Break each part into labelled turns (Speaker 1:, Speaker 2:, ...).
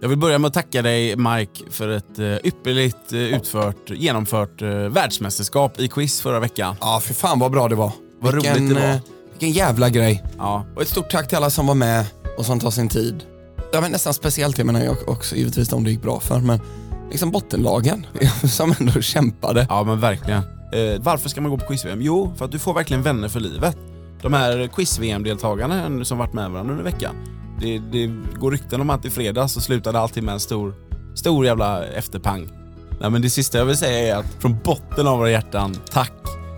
Speaker 1: Jag vill börja med att tacka dig Mike för ett eh, ypperligt eh, utfört, genomfört eh, världsmästerskap i quiz förra veckan.
Speaker 2: Ja, för fan vad bra det var.
Speaker 1: Vad roligt det var.
Speaker 2: eh, Vilken jävla grej.
Speaker 1: Ja.
Speaker 2: Och ett stort tack till alla som var med och som tar sin tid. Ja, men nästan speciellt, jag menar jag också givetvis de det gick bra för, men liksom bottenlagen som ändå kämpade.
Speaker 1: Ja men verkligen. Eh, varför ska man gå på quiz-VM? Jo, för att du får verkligen vänner för livet. De här quiz-VM-deltagarna eh, som varit med varandra under veckan. Det, det går rykten om att i fredags så slutade allting med en stor, stor jävla efterpang. Nej men det sista jag vill säga är att från botten av våra hjärtan, tack!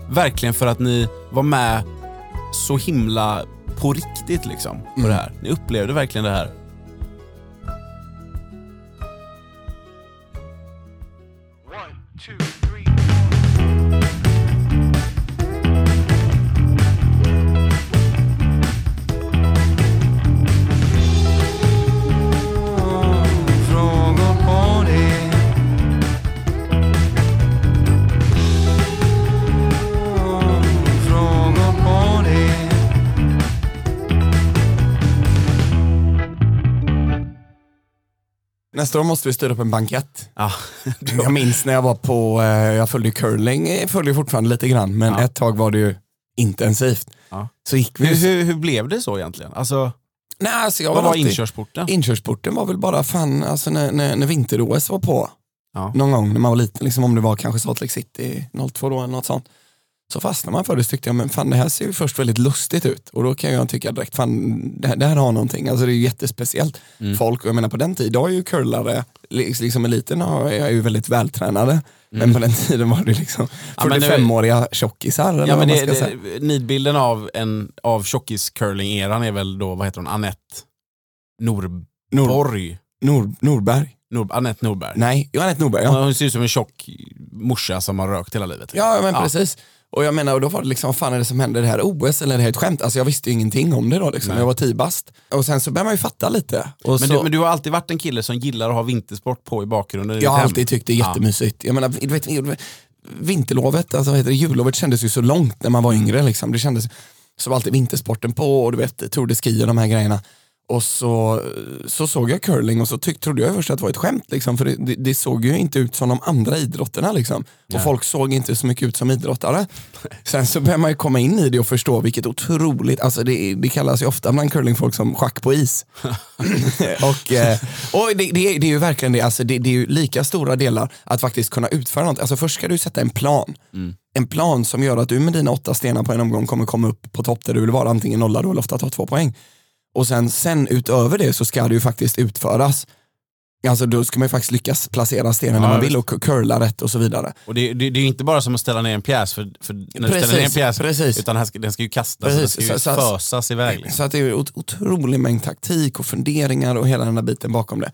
Speaker 1: Verkligen för att ni var med så himla på riktigt liksom på det här. Ni upplevde verkligen det här.
Speaker 2: Nästa år måste vi styra upp en bankett.
Speaker 1: Ja,
Speaker 2: Jag minns när jag var på, eh, jag följde ju curling, jag följer fortfarande lite grann, men
Speaker 1: Ja.
Speaker 2: ett tag var det ju intensivt.
Speaker 1: Ja.
Speaker 2: Så gick vi
Speaker 1: hur, hur, hur blev det så egentligen? Alltså,
Speaker 2: Nej, alltså jag
Speaker 1: vad var
Speaker 2: alltid-
Speaker 1: inkörsporten?
Speaker 2: Inkörsporten var väl bara fan, alltså när, när, när vinter-OS var på,
Speaker 1: Ja.
Speaker 2: någon gång när man var liten, liksom om det var kanske Salt Lake City 02 då eller något sånt, så fastnade man för det så tyckte jag, men fan det här ser ju först väldigt lustigt ut och då kan jag tycka direkt, fan det här, det här har någonting, alltså det är ju jättespeciellt.
Speaker 1: Mm.
Speaker 2: Folk, och jag menar på den tiden, idag är ju curlare, liks- liksom eliten har- är ju väldigt vältränade, men på den tiden var det liksom
Speaker 1: Mm. Ja, men nu-
Speaker 2: 45-åriga tjockisar eller
Speaker 1: Ja,
Speaker 2: vad
Speaker 1: men
Speaker 2: man
Speaker 1: det,
Speaker 2: ska säga.
Speaker 1: det, nidbilden av, en- av tjockis-curling-eran är väl då, vad heter hon, Anette Norborg?
Speaker 2: Nor, Norberg?
Speaker 1: Nor, Anette Norberg.
Speaker 2: Nej, jo, Anette Norberg, ja.
Speaker 1: Hon ser ut som en tjock morsa som har rökt hela livet.
Speaker 2: Ja, men precis. Och jag menar, och då var det liksom, vad fan är det som händer? Det här OS eller är det här ett skämt? Alltså jag visste ju ingenting om det då, liksom.
Speaker 1: Nej.
Speaker 2: jag var tio bast. Och sen så började man ju fatta lite. Och
Speaker 1: Men,
Speaker 2: så,
Speaker 1: du, men du har alltid varit en kille som gillar att ha vintersport på i bakgrunden i
Speaker 2: jag
Speaker 1: ditt
Speaker 2: har
Speaker 1: hem.
Speaker 2: alltid tyckt det är jättemysigt. Jag menar, du vet, du vet, vinterlovet, alltså vad heter det, jullovet kändes ju så långt när man var yngre. Liksom. Det kändes, så var alltid vintersporten på och du vet, Tour de Ski och de här grejerna. Och så, så såg jag curling och så tyck, trodde jag först att det var ett skämt, liksom, för det, det, det såg ju inte ut som de andra idrotterna. Liksom. Och folk såg inte så mycket ut som idrottare. Sen så börjar man ju komma in i det och förstå vilket otroligt, alltså det, det kallas ju ofta bland curlingfolk som schack på is. och eh, och det, det, är- det är ju verkligen det, alltså det, det är ju lika stora delar att faktiskt kunna utföra något. Alltså först ska du sätta en plan.
Speaker 1: Mm.
Speaker 2: En plan som gör att du med dina åtta stenar på en omgång kommer komma upp på topp där du vill vara, antingen nolla då eller ofta ta två poäng. Och sen, sen utöver det så ska det ju faktiskt utföras. Alltså då ska man ju faktiskt lyckas placera stenen
Speaker 1: Ja,
Speaker 2: när man vill och curla rätt och så vidare.
Speaker 1: Och det, det, det är ju inte bara som att ställa ner en pjäs, för, för när du
Speaker 2: Precis,
Speaker 1: ställer ner en pjäs,
Speaker 2: precis.
Speaker 1: utan här ska, den ska ju kastas,
Speaker 2: Precis,
Speaker 1: den ska ju
Speaker 2: så- så-
Speaker 1: fösas iväg. Liksom.
Speaker 2: Så att det är ju ot- otrolig mängd taktik och funderingar och hela den där biten bakom det.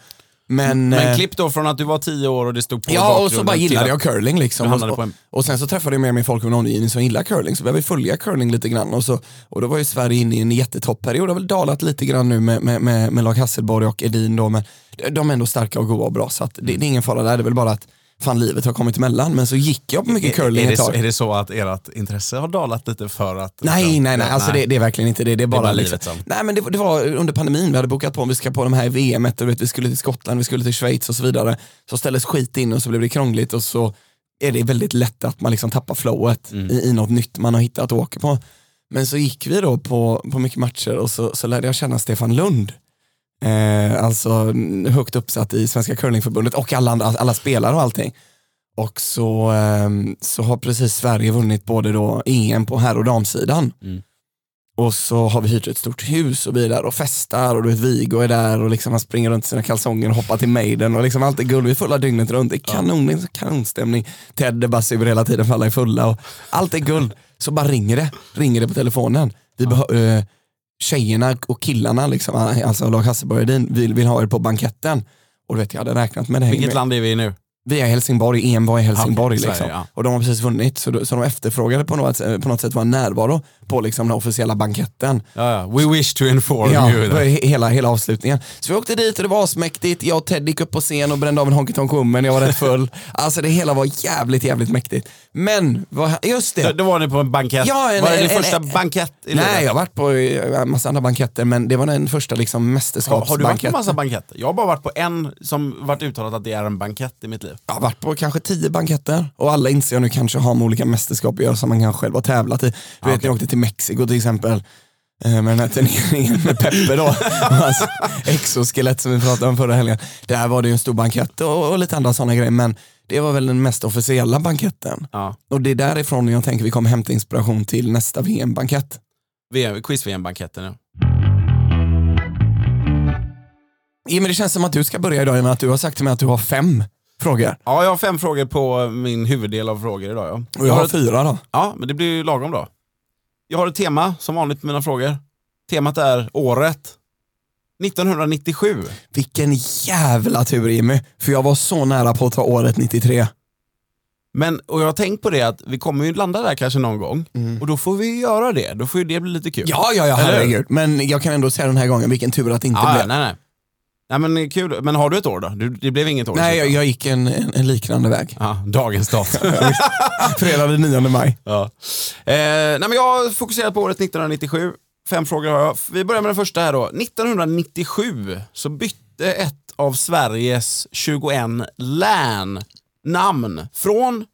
Speaker 2: Men,
Speaker 1: Men
Speaker 2: eh,
Speaker 1: klipp då från att du var tio år och det stod på i
Speaker 2: Ja och så
Speaker 1: bakgrunden
Speaker 2: bara
Speaker 1: till
Speaker 2: gillade
Speaker 1: att-
Speaker 2: jag curling
Speaker 1: Du
Speaker 2: liksom.
Speaker 1: hamnade
Speaker 2: Och,
Speaker 1: på en-
Speaker 2: och sen så träffade jag mer och mer folk i min omgivning som gillar curling så började vi följa curling lite grann och, så, och då var ju Sverige inne i en jättetoppperiod, det har väl dalat lite grann nu med, med, med, med lag Hasselborg och Edin då men de är ändå starka och goa och bra så att det, det är ingen fara där, det är väl bara att fan livet har kommit emellan men så gick jag på mycket curling
Speaker 1: är, det
Speaker 2: ett
Speaker 1: så,
Speaker 2: tag.
Speaker 1: är det så att ert intresse har dalat lite för att... liksom-
Speaker 2: Nej, nej, nej. Alltså Det, det är verkligen inte det. Det är bara,
Speaker 1: bara
Speaker 2: liksom,
Speaker 1: livet som-
Speaker 2: Nej, men det, det var under pandemin, vi hade bokat på om vi ska på de här VM, och du vet, vi skulle till Skottland, vi skulle till Schweiz och så vidare. Så ställdes skit in och så blev det krångligt och så är det väldigt lätt att man liksom tappar flowet i, i något nytt man har hittat och åker på. Men så gick vi då på, på mycket matcher och så, så lärde jag känna Stefan Lund. Eh, alltså mm, högt uppsatt i Svenska curlingförbundet och alla, andra, alla spelare och allting. Och så, ehm, så har precis Sverige vunnit både då EM på herr och damsidan. Och så har vi hyrt ett stort hus och vi är där och festar och du vet Viggo är där och liksom han springer runt i sina kalsonger och hoppar till Maiden och liksom allt är guld, vi är fulla dygnet runt. Det är kanon, det är en kanonstämning. Ted är bara sur hela tiden för alla är fulla och allt är guld. Så bara ringer det, ringer det på telefonen. Vi behö- eh, tjejerna och killarna, liksom, alltså lag Hasselborg och Edin, vill, vill ha er på banketten. Och du vet jag hade räknat med det. här.
Speaker 1: Vilket land är vi i nu?
Speaker 2: vi är i Helsingborg, EM var i Helsingborg.
Speaker 1: Ja, Sverige,
Speaker 2: liksom.
Speaker 1: ja.
Speaker 2: Och de har precis vunnit, så, då, så de efterfrågade på något, på något sätt vår närvaro på liksom den officiella banketten.
Speaker 1: Ja, ja. We wish to inform
Speaker 2: Ja,
Speaker 1: you.
Speaker 2: det var he- hela, hela avslutningen. Så vi åkte dit och det var asmäktigt. Jag och Ted gick upp på scen och brände av en Honky Tonk Woman, jag var rätt full. Alltså det hela var jävligt, jävligt mäktigt. Men, vad, just
Speaker 1: Då-
Speaker 2: det.
Speaker 1: Då var ni på en bankett.
Speaker 2: Ja, en-
Speaker 1: var det din
Speaker 2: en- en-
Speaker 1: första
Speaker 2: en-
Speaker 1: bankett i
Speaker 2: Nej,
Speaker 1: livet?
Speaker 2: jag har varit på eh, en massa andra banketter, men det var den första liksom
Speaker 1: har, har du varit på
Speaker 2: mästerskapsbanketten.
Speaker 1: massa banketter? Jag har bara varit på en som varit uttalat att det är en bankett i mitt liv.
Speaker 2: Jag har varit på kanske tio banketter och alla inser jag nu kanske har med olika mästerskap att göra som man kanske själv har tävlat i. Du vet, jag åkte till Mexiko till exempel eh, med den här turneringen med Peppe då, hans exoskelett som vi pratade om förra helgen. Där var det ju en stor bankett och, och lite andra sådana grejer men det var väl den mest officiella banketten.
Speaker 1: Ja.
Speaker 2: Och det är därifrån jag tänker vi kommer hämta inspiration till nästa VM-bankett.
Speaker 1: VM, Quiz-VM-banketten nu.
Speaker 2: Ja, men det känns som att du ska börja idag i och med att du har sagt till mig att du har fem frågor.
Speaker 1: Ja, jag har fem frågor på min huvuddel av frågor idag. Ja.
Speaker 2: Och jag har fyra då.
Speaker 1: Ja, men det blir ju lagom då. Jag har ett tema som vanligt på mina frågor. Temat är året 1997.
Speaker 2: Vilken jävla tur Jimmy, för jag var så nära på att ta året 93.
Speaker 1: Men, och jag har tänkt på det att vi kommer ju landa där kanske någon gång och då får vi ju göra det. Då får ju det bli lite kul.
Speaker 2: Mm. Ja, ja, ja,
Speaker 1: Eller hur?
Speaker 2: herregud. Men jag kan ändå säga den här gången, vilken tur att det inte
Speaker 1: Ja, ja,
Speaker 2: blev.
Speaker 1: nej, nej. Nej men kul. Men har du ett år då? Du, det blev inget år?
Speaker 2: Nej, jag, jag gick en, en, en liknande väg.
Speaker 1: Ja, dagens datum.
Speaker 2: Fredag den 9 maj.
Speaker 1: ja. eh, nej, men jag har fokuserat på året 1997. Fem frågor har jag. Vi börjar med den första här då. 1997 så bytte ett av Sveriges 21 län namn från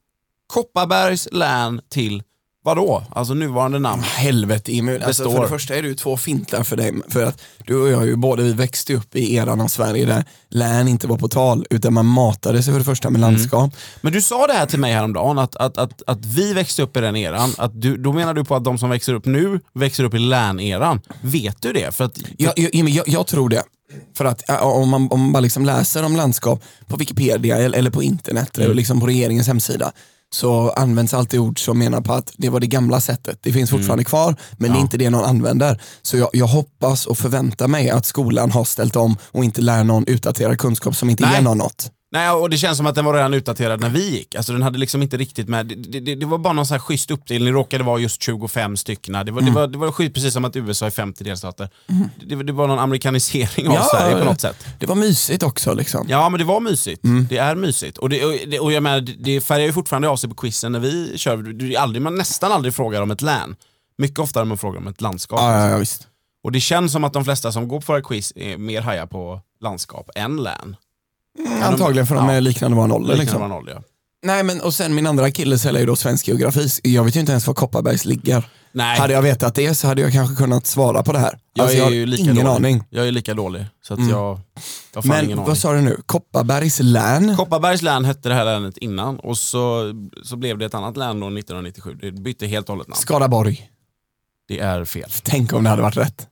Speaker 1: Kopparbergs län till vadå? Alltså nuvarande namn.
Speaker 2: Helvete Jimmy. Alltså,
Speaker 1: Består.
Speaker 2: för det första är det ju två fintar för dig. För att du och jag, är ju båda vi växte upp i eran av Sverige där län inte var på tal, utan man matade sig för det första med landskap.
Speaker 1: Men du sa det här till mig häromdagen, att, att, att, att vi växte upp i den eran. Att du, då menar du på att de som växer upp nu växer upp i län-eran. Vet du det? För att,
Speaker 2: Jag, jag, Jimmy, jag, jag tror det. För att ä, om man, om man bara liksom läser om landskap på Wikipedia eller, eller på internet
Speaker 1: Mm.
Speaker 2: eller liksom på regeringens hemsida så används alltid ord som menar på att det var det gamla sättet. Det finns fortfarande
Speaker 1: Mm.
Speaker 2: kvar men det är inte det någon använder. Så jag, jag hoppas och förväntar mig att skolan har ställt om och inte lär någon utdaterad kunskap som inte
Speaker 1: Nej.
Speaker 2: ger någon något.
Speaker 1: Nej, och det känns som att den var redan utdaterad när vi gick. Alltså den hade liksom inte riktigt med, det, det, det var bara någon så här schysst uppdelning, det råkade vara just 25 stycken. Det var, det
Speaker 2: Mm.
Speaker 1: var, det var schysst, precis som att USA är 50 delstater. Det, det var någon amerikanisering av
Speaker 2: Ja,
Speaker 1: Sverige på
Speaker 2: ja.
Speaker 1: något sätt.
Speaker 2: Det var mysigt också. Liksom.
Speaker 1: Ja men det var mysigt.
Speaker 2: Mm.
Speaker 1: Det är mysigt. Och, det, och, det, och jag menar, det- det färgar ju fortfarande av sig på quizen när vi kör. Du, du, är aldrig, man nästan aldrig frågar om ett län. Mycket oftare man frågar om ett landskap.
Speaker 2: Ja, ja, ja, visst.
Speaker 1: Och det känns som att de flesta som går på våra quiz är mer hajar på landskap än län.
Speaker 2: Antagligen för de
Speaker 1: ja.
Speaker 2: är liknande vår ålder.
Speaker 1: Liksom.
Speaker 2: Liksom.
Speaker 1: Man håller, ja.
Speaker 2: Nej, men, och sen min andra kille säljer ju då svensk geografi. Jag vet ju inte ens var Kopparbergs ligger.
Speaker 1: Nej,
Speaker 2: Hade jag vetat det så hade jag kanske kunnat svara på det här.
Speaker 1: jag
Speaker 2: Alltså,
Speaker 1: är
Speaker 2: jag har
Speaker 1: ju lika
Speaker 2: ingen
Speaker 1: dålig.
Speaker 2: aning. Mm.
Speaker 1: Jag är lika dålig. Så att jag, jag har fan
Speaker 2: Men
Speaker 1: ingen aning.
Speaker 2: vad sa du nu? Kopparbergs län?
Speaker 1: Kopparbergs län hette det här länet innan och så, så blev det ett annat län då 1997. Det bytte helt och hållet namn.
Speaker 2: Skaraborg.
Speaker 1: Det är fel.
Speaker 2: Tänk om det hade varit rätt.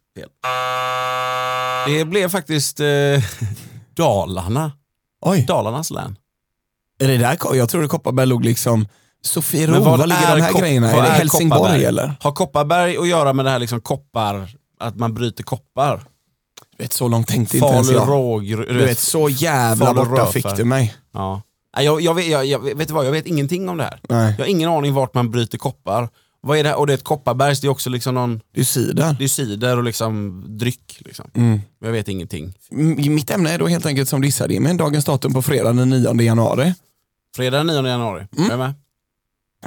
Speaker 1: Det blev faktiskt eh, Dalarna.
Speaker 2: Oj,
Speaker 1: Dalarnas län.
Speaker 2: är det där, Ko- jag trodde Kopparberg låg liksom Sofiero,
Speaker 1: Men
Speaker 2: var,
Speaker 1: vad
Speaker 2: ligger de
Speaker 1: är
Speaker 2: här
Speaker 1: Kop-
Speaker 2: grejerna?
Speaker 1: vad
Speaker 2: Är det
Speaker 1: är
Speaker 2: Helsingborg
Speaker 1: Kopparberg?
Speaker 2: eller?
Speaker 1: Har Kopparberg att göra med det här liksom koppar, att man bryter koppar?
Speaker 2: Vet, så långt tänkte inte ens
Speaker 1: Falu,
Speaker 2: jag.
Speaker 1: Rågr...
Speaker 2: Du vet, så jävla
Speaker 1: Falu
Speaker 2: borta
Speaker 1: Röfer.
Speaker 2: fick du mig.
Speaker 1: Ja. Nej, Jag, jag, vet, jag, jag, vet du vad, jag vet ingenting om det här.
Speaker 2: Nej.
Speaker 1: Jag har ingen aning vart man bryter koppar. Vad är det här? Och det är ett kopparbergs, det är också liksom någon,
Speaker 2: Du syder.
Speaker 1: det är cider och liksom dryck. Liksom.
Speaker 2: Mm.
Speaker 1: Jag vet ingenting.
Speaker 2: M- Mitt ämne är då helt enkelt som du gissade, Jimmy, dagens datum på fredag den 9 januari.
Speaker 1: Fredag den 9 januari,
Speaker 2: Mm.
Speaker 1: är du med?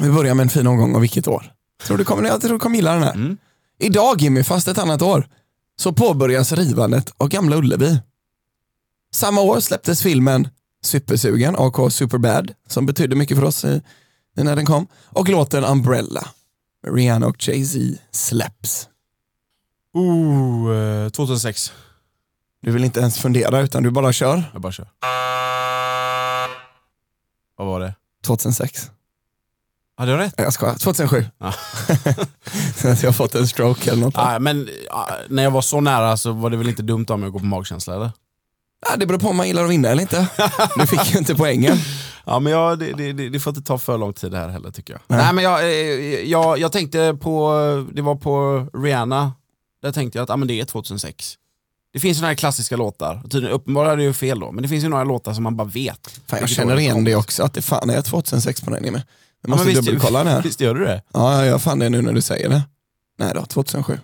Speaker 2: Vi börjar med en fin omgång av vilket år? Tror du kommer, jag tror du kommer gilla den här.
Speaker 1: Mm.
Speaker 2: Idag Jimmy, fast ett annat år, så påbörjas rivandet av Gamla Ullevi. Samma år släpptes filmen Supersugen, AK Superbad, som betydde mycket för oss eh, när den kom, och låten Umbrella. med Rihanna och Jay-Z släpps.
Speaker 1: Oh, eh, 2006.
Speaker 2: Du vill inte ens fundera utan du bara kör.
Speaker 1: Jag bara kör. Vad var det?
Speaker 2: 2006.
Speaker 1: Hade jag rätt?
Speaker 2: Nej, Jag skojar, 2007.
Speaker 1: Ja.
Speaker 2: Så att jag har fått en stroke eller något.
Speaker 1: Ah, men ah, när jag var så nära så var det väl inte dumt av mig att gå på magkänsla eller?
Speaker 2: Ah, det beror på om man gillar att vinna eller inte. Du fick ju inte poängen.
Speaker 1: Ja men jag, det, det, det, det får inte ta för lång tid här heller tycker jag. Nej, men jag, eh, jag, jag tänkte på, det var på Rihanna, där tänkte jag att ah, men det är 2006. Det finns såna här klassiska låtar, och tydligen uppenbarligen hade jag ju fel då, men det finns ju några låtar som man bara vet.
Speaker 2: Fan, jag
Speaker 1: vilket
Speaker 2: känner
Speaker 1: år
Speaker 2: igen
Speaker 1: kom.
Speaker 2: det också, att det fan är 2006 på den Jimmy. Jag måste
Speaker 1: Ja, men visst-
Speaker 2: dubbelkolla det här.
Speaker 1: Visst gör du det?
Speaker 2: Ja, jag gör fan det nu när du säger det. Nej då, 2007.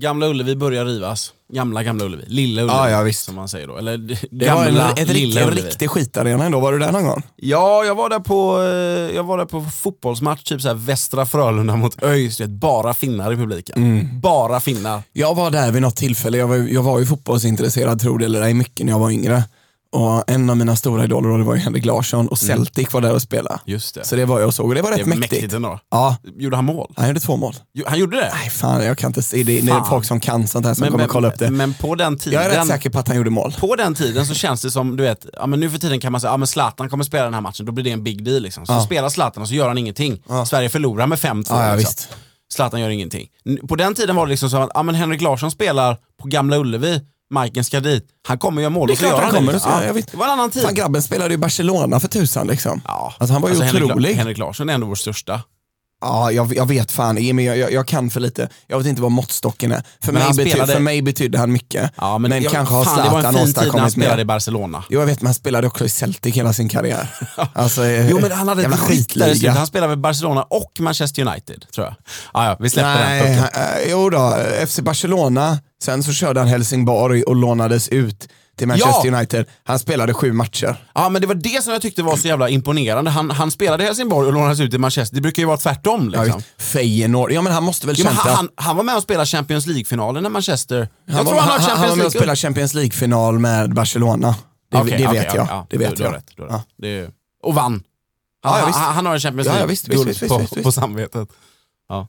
Speaker 1: Gamla Ullevi börjar rivas. Gamla, gamla Ullevi. Lilla Ullevi.
Speaker 2: Ja, ja, visst.
Speaker 1: Som man säger då. Eller
Speaker 2: Det var en,
Speaker 1: gamla,
Speaker 2: en,
Speaker 1: lilla
Speaker 2: en
Speaker 1: Ullevi.
Speaker 2: riktig skitarena ändå, var du där någon gång?
Speaker 1: Ja, jag var där på, eh, jag var där på fotbollsmatch, typ så här Västra Frölunda mot ÖIS. du vet, Bara finnar i publiken.
Speaker 2: Mm.
Speaker 1: Bara finnar.
Speaker 2: Jag var där vid något tillfälle, jag var, jag var ju fotbollsintresserad tror det eller ej mycket när jag var yngre. Och en av mina stora idoler då, det var ju Henrik Larsson och Celtic var där och spelade.
Speaker 1: Just det.
Speaker 2: Så Mm. det var jag och såg och det var rätt
Speaker 1: det är
Speaker 2: mäktigt.
Speaker 1: mäktigt. ändå.
Speaker 2: Ja,
Speaker 1: Gjorde han mål?
Speaker 2: han gjorde två mål.
Speaker 1: Jo, Han gjorde det?
Speaker 2: Nej fan, jag kan inte se det. Det är
Speaker 1: Fan.
Speaker 2: folk som kan sånt här som kommer kolla upp det.
Speaker 1: Men på den tiden...
Speaker 2: jag är rätt säker på att han gjorde mål.
Speaker 1: På den tiden så känns det som, du vet, ja, men nu för tiden kan man säga ja, men Zlatan kommer spela den här matchen, då blir det en big deal. Liksom. Så spelar Zlatan och så gör han ingenting. Sverige förlorar med 5-2.
Speaker 2: Ja, ja,
Speaker 1: liksom.
Speaker 2: visst.
Speaker 1: Zlatan gör ingenting. N- På den tiden var det liksom så att ja, men Henrik Larsson spelar på Gamla Ullevi, Majken ska dit, han kommer göra mål.
Speaker 2: Det är
Speaker 1: och så
Speaker 2: klart
Speaker 1: gör
Speaker 2: han kommer.
Speaker 1: liksom.
Speaker 2: Ja, jag vet.
Speaker 1: Det var en annan tid.
Speaker 2: Fan grabben spelade ju i Barcelona för tusan liksom.
Speaker 1: Ja.
Speaker 2: Alltså han var ju
Speaker 1: Henrik La-
Speaker 2: otrolig.
Speaker 1: Henrik Larsson är ändå vår största.
Speaker 2: Ja, jag, jag vet fan. Jimmy, jag, jag, jag kan för lite. Jag vet inte vad måttstocken är. För,
Speaker 1: Men
Speaker 2: mig,
Speaker 1: han
Speaker 2: bety-
Speaker 1: spelade-
Speaker 2: för mig betydde han mycket.
Speaker 1: Ja,
Speaker 2: men
Speaker 1: jag-
Speaker 2: kanske har
Speaker 1: fan, det var en
Speaker 2: Zlatan
Speaker 1: fin tid när han
Speaker 2: åstadkommit
Speaker 1: spelade i
Speaker 2: mer.
Speaker 1: Barcelona.
Speaker 2: Jo, jag vet, men han spelade också i Celtic hela sin karriär. Alltså, eh,
Speaker 1: Jo men han hade
Speaker 2: jävla
Speaker 1: ett skitläge. i slutet.
Speaker 2: skitliga.
Speaker 1: Han spelade med Barcelona och Manchester United tror jag. Ah, ja, vi släpper den
Speaker 2: Nej,
Speaker 1: punkten.
Speaker 2: han, eh, jo då, FC Barcelona, sen så körde han Helsingborg och lånades ut till Manchester
Speaker 1: Ja!
Speaker 2: United. Han spelade sju matcher.
Speaker 1: Ja men det var det som jag tyckte var så jävla imponerande. Han, han spelade i Helsingborg och lånades ut i Manchester. Det brukar ju vara tvärtom
Speaker 2: Ja,
Speaker 1: liksom.
Speaker 2: visst. Feyenoord, ja men han måste väl
Speaker 1: Jo, men
Speaker 2: känt
Speaker 1: han,
Speaker 2: att-
Speaker 1: han, han var med och spelade Champions League-finalen när Manchester... jag
Speaker 2: var-
Speaker 1: tror han har
Speaker 2: han, han var
Speaker 1: Champions
Speaker 2: med och
Speaker 1: League.
Speaker 2: spelade Champions League-final med Barcelona. Det,
Speaker 1: Okej,
Speaker 2: det
Speaker 1: okej,
Speaker 2: vet
Speaker 1: ja,
Speaker 2: jag.
Speaker 1: ja,
Speaker 2: det vet
Speaker 1: du,
Speaker 2: jag.
Speaker 1: Du har rätt, du har
Speaker 2: Ja.
Speaker 1: rätt. Det är, och vann. Han,
Speaker 2: Ja, ja, visst.
Speaker 1: han, han har en Champions
Speaker 2: Ja, ja,
Speaker 1: League
Speaker 2: visst, visst,
Speaker 1: guld
Speaker 2: visst, visst,
Speaker 1: på,
Speaker 2: visst, visst.
Speaker 1: på samvetet. Ja.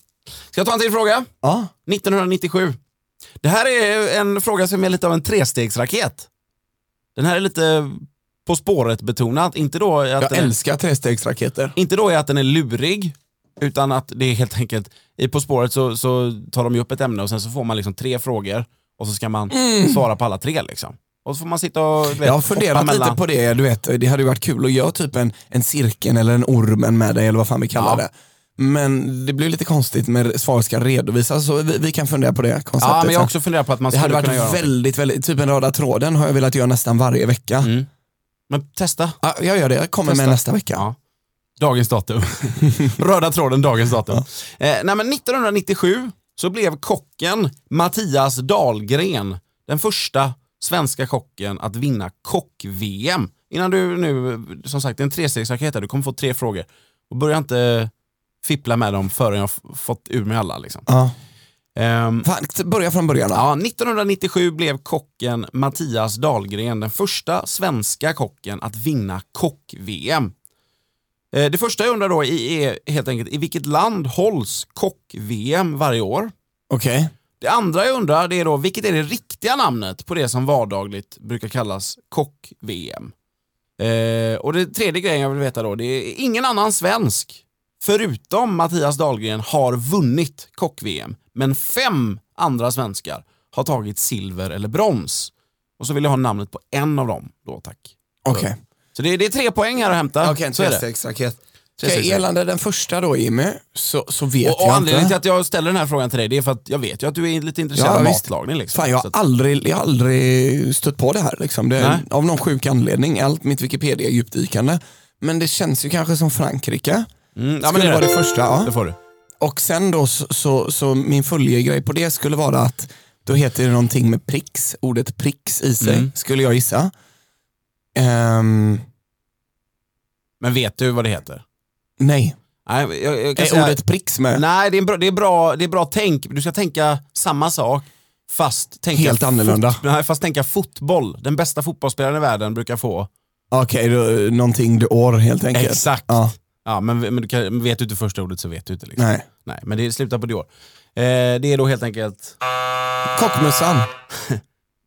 Speaker 1: Ska jag ta en till fråga?
Speaker 2: Ja.
Speaker 1: 1997. Det här är en fråga som är lite av en trestegsraket. Den här är lite På spåret-betonad. Inte då att
Speaker 2: Jag
Speaker 1: den är,
Speaker 2: älskar trestegsraketer.
Speaker 1: inte då är att den är lurig, utan att det är helt enkelt, i På spåret så, så tar de ju upp ett ämne och sen så får man liksom tre frågor och så ska man svara på alla tre liksom. Och så får man sitta och du vet,
Speaker 2: Jag har funderat
Speaker 1: hoppa mellan-
Speaker 2: lite på det, du vet, det hade ju varit kul att göra typ en, en cirkeln eller en ormen med dig eller vad fan vi kallar
Speaker 1: Ja.
Speaker 2: det. Men det blir lite konstigt med svar ska redovisas så vi, vi kan fundera på det konceptet.
Speaker 1: Ja, men jag
Speaker 2: sen.
Speaker 1: har också funderat på att man
Speaker 2: det hade
Speaker 1: skulle kunna
Speaker 2: varit
Speaker 1: göra väl...
Speaker 2: väldigt, väldigt, typ en röda tråden har jag velat göra nästan varje vecka.
Speaker 1: Men testa.
Speaker 2: Ja, jag gör det, jag kommer
Speaker 1: Mm.
Speaker 2: med
Speaker 1: Testa.
Speaker 2: nästa vecka.
Speaker 1: Ja. Dagens datum. Röda tråden dagens datum. Eh, nej, men 1997 så blev kocken Mattias Dahlgren den första svenska kocken att vinna kock-VM. Innan du nu, som sagt det är en trestegsraket här, du kommer få tre frågor. Och börja inte fippla med dem förrän jag f- fått ur mig alla. Liksom.
Speaker 2: Ja.
Speaker 1: Ehm,
Speaker 2: Fan, t- börja från början då.
Speaker 1: Ja, 1997 blev kocken Mattias Dahlgren den första svenska kocken att vinna kock-VM. Eh, Det första jag undrar då i- är helt enkelt i vilket land hålls kock-VM varje år?
Speaker 2: Okej.
Speaker 1: Det andra jag undrar det är då vilket är det riktiga namnet på det som vardagligt brukar kallas kock-VM? Eh, och det tredje grejen jag vill veta då det är ingen annan svensk förutom Mattias Dahlgren har vunnit kock-VM men fem andra svenskar har tagit silver eller brons. Och så vill jag ha namnet på en av dem då tack.
Speaker 2: Okej.
Speaker 1: Så det, det är tre poäng här att hämta.
Speaker 2: Okej, en
Speaker 1: så är det.
Speaker 2: trestegsraket.
Speaker 1: Trestegsraket.
Speaker 2: Okej, Gällande den första då Jimmy, så, så vet
Speaker 1: Och, och
Speaker 2: jag
Speaker 1: anledningen
Speaker 2: inte.
Speaker 1: till att jag ställer den här frågan till dig det är för att jag vet ju att du är lite intresserad av
Speaker 2: visst.
Speaker 1: matlagning. Liksom.
Speaker 2: Fan, jag
Speaker 1: Så
Speaker 2: har
Speaker 1: att-
Speaker 2: aldrig, jag har aldrig stött på det här. Liksom. Det
Speaker 1: Nej.
Speaker 2: är, av någon sjuk anledning. Allt mitt Wikipedia är djupdykande. Men det känns ju kanske som Frankrike.
Speaker 1: Mm, ja, men
Speaker 2: skulle
Speaker 1: det är
Speaker 2: vara
Speaker 1: det.
Speaker 2: det första. Ja.
Speaker 1: Det får du.
Speaker 2: Och sen då så, så, så min följegrej på det skulle vara att då heter det någonting med pricks, ordet pricks i sig,
Speaker 1: Mm.
Speaker 2: skulle jag gissa. Ehm,
Speaker 1: Men vet du vad det heter?
Speaker 2: nej,
Speaker 1: Nej, jag, jag kan
Speaker 2: är
Speaker 1: säga,
Speaker 2: ordet pricks med?
Speaker 1: Eh, nej det, är en bra, det, är bra, det är bra tänk. Du ska tänka samma sak fast tänka,
Speaker 2: Helt annorlunda.
Speaker 1: Fot, nej, fast tänka fotboll. Den bästa fotbollsspelaren i världen brukar få.
Speaker 2: Okej, då, någonting du år helt enkelt.
Speaker 1: Exakt. Ja.
Speaker 2: Ja.
Speaker 1: men, men du kan, men vet du inte första ordet så vet du inte. Liksom.
Speaker 2: Nej.
Speaker 1: nej. Men det slutar på det år. Eh, det är då helt enkelt,
Speaker 2: Kockmössan,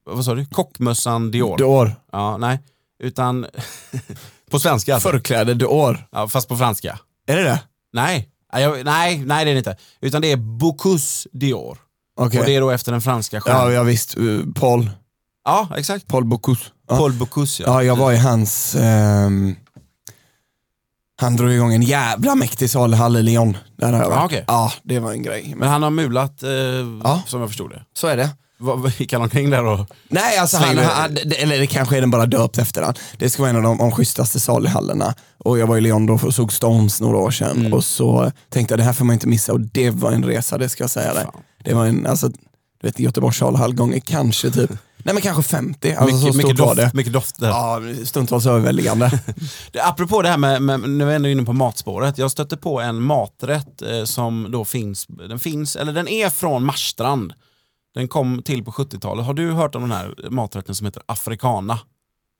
Speaker 1: vad sa du? Kockmössan Dior.
Speaker 2: du år.
Speaker 1: Ja, nej. Utan på svenska alltså.
Speaker 2: Förkläde, du år.
Speaker 1: Ja, fast på franska.
Speaker 2: Är det det?
Speaker 1: Nej. Nej, jag, nej, nej det är det inte. Utan det är Bocuse Dior.
Speaker 2: Okej.
Speaker 1: Och det är då efter den franska stjärnan.
Speaker 2: Ja, ja visst. Eh, Paul.
Speaker 1: Ja, exakt.
Speaker 2: Paul Bocuse. Ja.
Speaker 1: Paul Bocuse
Speaker 2: ja, jag var i hans... ehm, han drog igång en jävla mäktig saluhall i Lyon. Där har jag
Speaker 1: Ja,
Speaker 2: varit.
Speaker 1: Ah, okej.
Speaker 2: Ja, det var en grej. Men
Speaker 1: Men han har mulat, eh,
Speaker 2: Ja.
Speaker 1: som jag förstod det.
Speaker 2: så är det.
Speaker 1: Vad gick han omkring där och...
Speaker 2: Nej, alltså han,
Speaker 1: Slängde-
Speaker 2: han, eller det kanske är den bara döpt efter han. Det ska vara en av de, de schysstaste saluhallarna. Och jag var i Lyon då och såg Stones några år sedan
Speaker 1: Mm.
Speaker 2: och så tänkte jag det här får man inte missa och det var en resa, det ska jag säga dig.
Speaker 1: Fan.
Speaker 2: Det var en, alltså, du vet Göteborgs saluhall gånger kanske typ, nej men kanske 50, alltså
Speaker 1: mycket,
Speaker 2: så
Speaker 1: mycket,
Speaker 2: stort var
Speaker 1: doft,
Speaker 2: det.
Speaker 1: mycket doft där.
Speaker 2: Ja, stundtals överväldigande.
Speaker 1: Det- Apropå det här med, med, nu är jag ändå inne på matspåret. Jag stötte på en maträtt eh, som då finns, den finns, eller den är från Marstrand. Den kom till på 70-talet. Har du hört om den här maträtten som heter africana?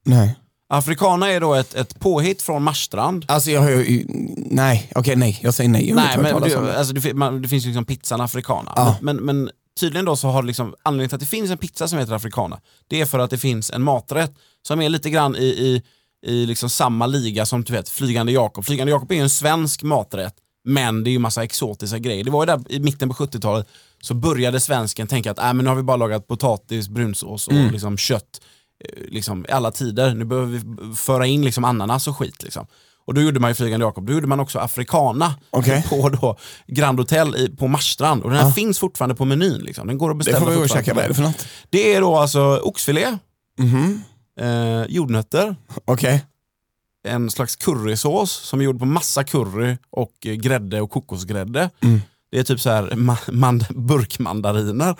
Speaker 2: nej.
Speaker 1: Africana är då ett, ett påhitt från Marstrand.
Speaker 2: Alltså jag har ju, nej, okej nej, jag säger nej. Jag har
Speaker 1: Nej
Speaker 2: inte hört
Speaker 1: men
Speaker 2: talas
Speaker 1: du,
Speaker 2: om det.
Speaker 1: alltså, det, fin- man, det finns ju liksom pizzan africana.
Speaker 2: Mm. Ja.
Speaker 1: Men, men tydligen då så har det liksom, anledningen till att det finns en pizza som heter africana, det är för att det finns en maträtt som är lite grann i, i, i liksom samma liga som du vet, Flygande Jakob. Flygande Jakob är ju en svensk maträtt, men det är ju massa exotiska grejer. Det var ju där i mitten på 70-talet så började svensken tänka att äh, men nu har vi bara lagat potatis, brunsås och
Speaker 2: Mm.
Speaker 1: liksom kött eh, liksom, i alla tider. Nu behöver vi b- föra in liksom ananas och skit. Liksom. Och då gjorde man ju Flygande Jakob, då gjorde man också africana
Speaker 2: Okej.
Speaker 1: på då Grand Hotel i, på Marstrand. Och den här
Speaker 2: Ja.
Speaker 1: finns fortfarande på menyn. Liksom. Den går att
Speaker 2: Det
Speaker 1: beställa
Speaker 2: får vi gå och
Speaker 1: fortfarande.
Speaker 2: käka, vad är det för något?
Speaker 1: Det är då alltså oxfilé,
Speaker 2: Mhm,
Speaker 1: eh, jordnötter,
Speaker 2: okej.
Speaker 1: en slags currysås som är gjord på massa curry och eh, grädde och kokosgrädde.
Speaker 2: Mm.
Speaker 1: Det är typ så här ma- mand- burkmandariner.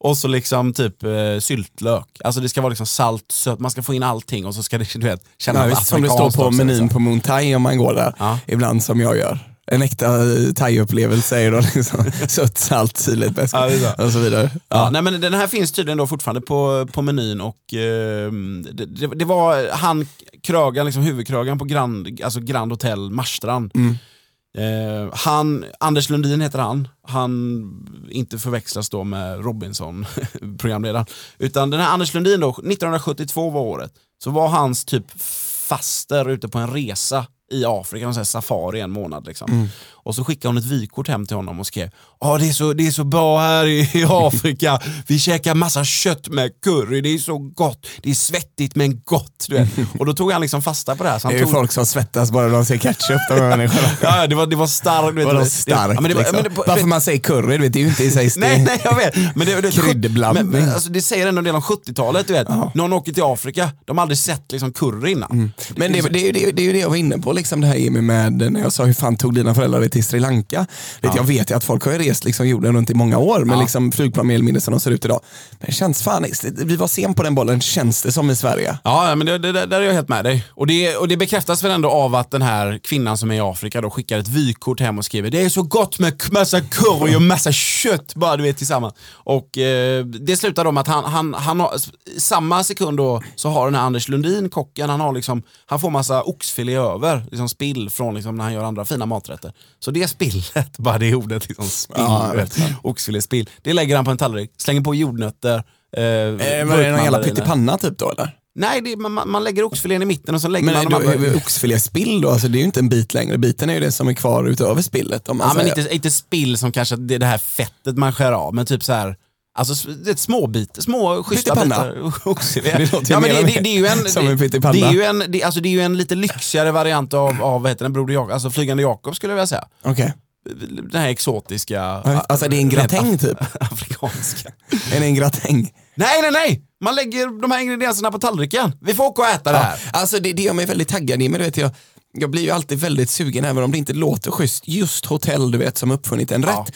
Speaker 1: Och så liksom typ eh, syltlök. Alltså det ska vara liksom salt, sött, man ska få in allting och så ska det du vet, kännas
Speaker 2: Ja, visst, som det står
Speaker 1: afrikanskt
Speaker 2: på
Speaker 1: också,
Speaker 2: menyn
Speaker 1: liksom.
Speaker 2: på Moon Thai om man går där.
Speaker 1: Ja.
Speaker 2: Ibland som jag gör. En äkta eh, thai-upplevelse är ju då liksom sött, salt, syrligt, beska
Speaker 1: Ja, det är så.
Speaker 2: och så vidare.
Speaker 1: Ja,
Speaker 2: Ja.
Speaker 1: nej, men den här finns tydligen då fortfarande på, på menyn och eh, det, det, det var han, krögan, liksom huvudkrögan på Grand, alltså Grand Hotel Marstrand. Eh, han, Anders Lundin heter han, han inte förväxlas då med Robinson, programledaren. Utan den här Anders Lundin då, 1972 var året, så var hans typ faster ute på en resa i Afrika, en sån här safari en månad. Liksom.
Speaker 2: Mm.
Speaker 1: Och så skickade hon ett vykort hem till honom och skrev Ja det, är så- det är så bra här i, i Afrika, vi käkar massa kött med curry, det är så gott, det är svettigt men gott. Du vet. Och då tog han liksom fasta på det här. Så han
Speaker 2: Det är ju
Speaker 1: tog...
Speaker 2: folk som svettas bara de ser ketchup, de här människorna.
Speaker 1: Ja, det var, det var starkt. du vet.
Speaker 2: Vadå
Speaker 1: Det-
Speaker 2: starkt
Speaker 1: Ja, men det var-
Speaker 2: liksom.
Speaker 1: men det- på-
Speaker 2: Varför man säger curry, du vet, det är ju inte i sig
Speaker 1: Nej,
Speaker 2: det-
Speaker 1: nej jag vet. Men det, det,
Speaker 2: Kryddblandning.
Speaker 1: Men, men, alltså, det säger ändå en del om 70-talet. Du vet. Någon åker till Afrika, de har aldrig sett liksom, curry innan.
Speaker 2: Mm. Men det, det, är ju- det, är ju- det är ju det jag var inne på, liksom det här Jimmy med när jag sa hur fan tog dina föräldrar dig till Sri Lanka? Vet, Jag vet ju att folk har ju rest liksom, jorden runt i många år med liksom, flygplan mer eller mindre som de ser ut idag. Men det känns fan, vi var sen på den bollen känns det som i Sverige.
Speaker 1: Ja, ja, men det, det, där är jag helt med dig. Och det, och det bekräftas väl ändå av att den här kvinnan som är i Afrika då skickar ett vykort hem och skriver det är så gott med k- massa curry och massa kött bara du vet tillsammans. Och eh, det slutar då med att han, han, han har, i samma sekund då så har den här Anders Lundin, kocken, han, har liksom, han får massa oxfilé över, liksom spill från liksom när han gör andra fina maträtter. Så det spillet, bara det ordet, liksom spill,
Speaker 2: Ja,
Speaker 1: du vet. oxfiléspill, det lägger han på en tallrik, slänger på jordnötter, eh,
Speaker 2: Eh, var det någon jävla
Speaker 1: burkmandariner.
Speaker 2: pyttipanna typ då eller?
Speaker 1: Nej, det, man- man, man lägger oxfilén i mitten och så lägger
Speaker 2: Men
Speaker 1: man de
Speaker 2: är
Speaker 1: andra...
Speaker 2: du, eh, oxfiléspill då, alltså det är ju inte en bit längre. Biten är ju det som är kvar utöver spillet. Om man
Speaker 1: Ja, men
Speaker 2: säger.
Speaker 1: inte, inte spill som kanske det, det här fettet man skär av, men typ så här... Alltså s- det är ett små bit, små schyssta
Speaker 2: Pyttipanna.
Speaker 1: bitar. Oxfilé.
Speaker 2: Det låter ju
Speaker 1: ja, men
Speaker 2: mer
Speaker 1: det,
Speaker 2: och
Speaker 1: det, det är ju en,
Speaker 2: som en
Speaker 1: det,
Speaker 2: pyttipanna.
Speaker 1: det är ju en, det, alltså det är ju en lite lyxigare variant av, av vad heter den, Broder Jakob, alltså Flygande Jakob skulle jag vilja säga.
Speaker 2: Okej.
Speaker 1: Den här exotiska...
Speaker 2: Alltså det är en gratäng typ.
Speaker 1: Afrikanska.
Speaker 2: Är det en gratäng?
Speaker 1: Nej, nej, nej! Man lägger de här ingredienserna på tallriken. Vi får åka och äta det här.
Speaker 2: Alltså det, det gör mig väldigt taggad Jimmy, du vet jag, jag blir ju alltid väldigt sugen även om det inte låter schysst. Just hotell du vet som uppfunnit en
Speaker 1: Ja.
Speaker 2: rätt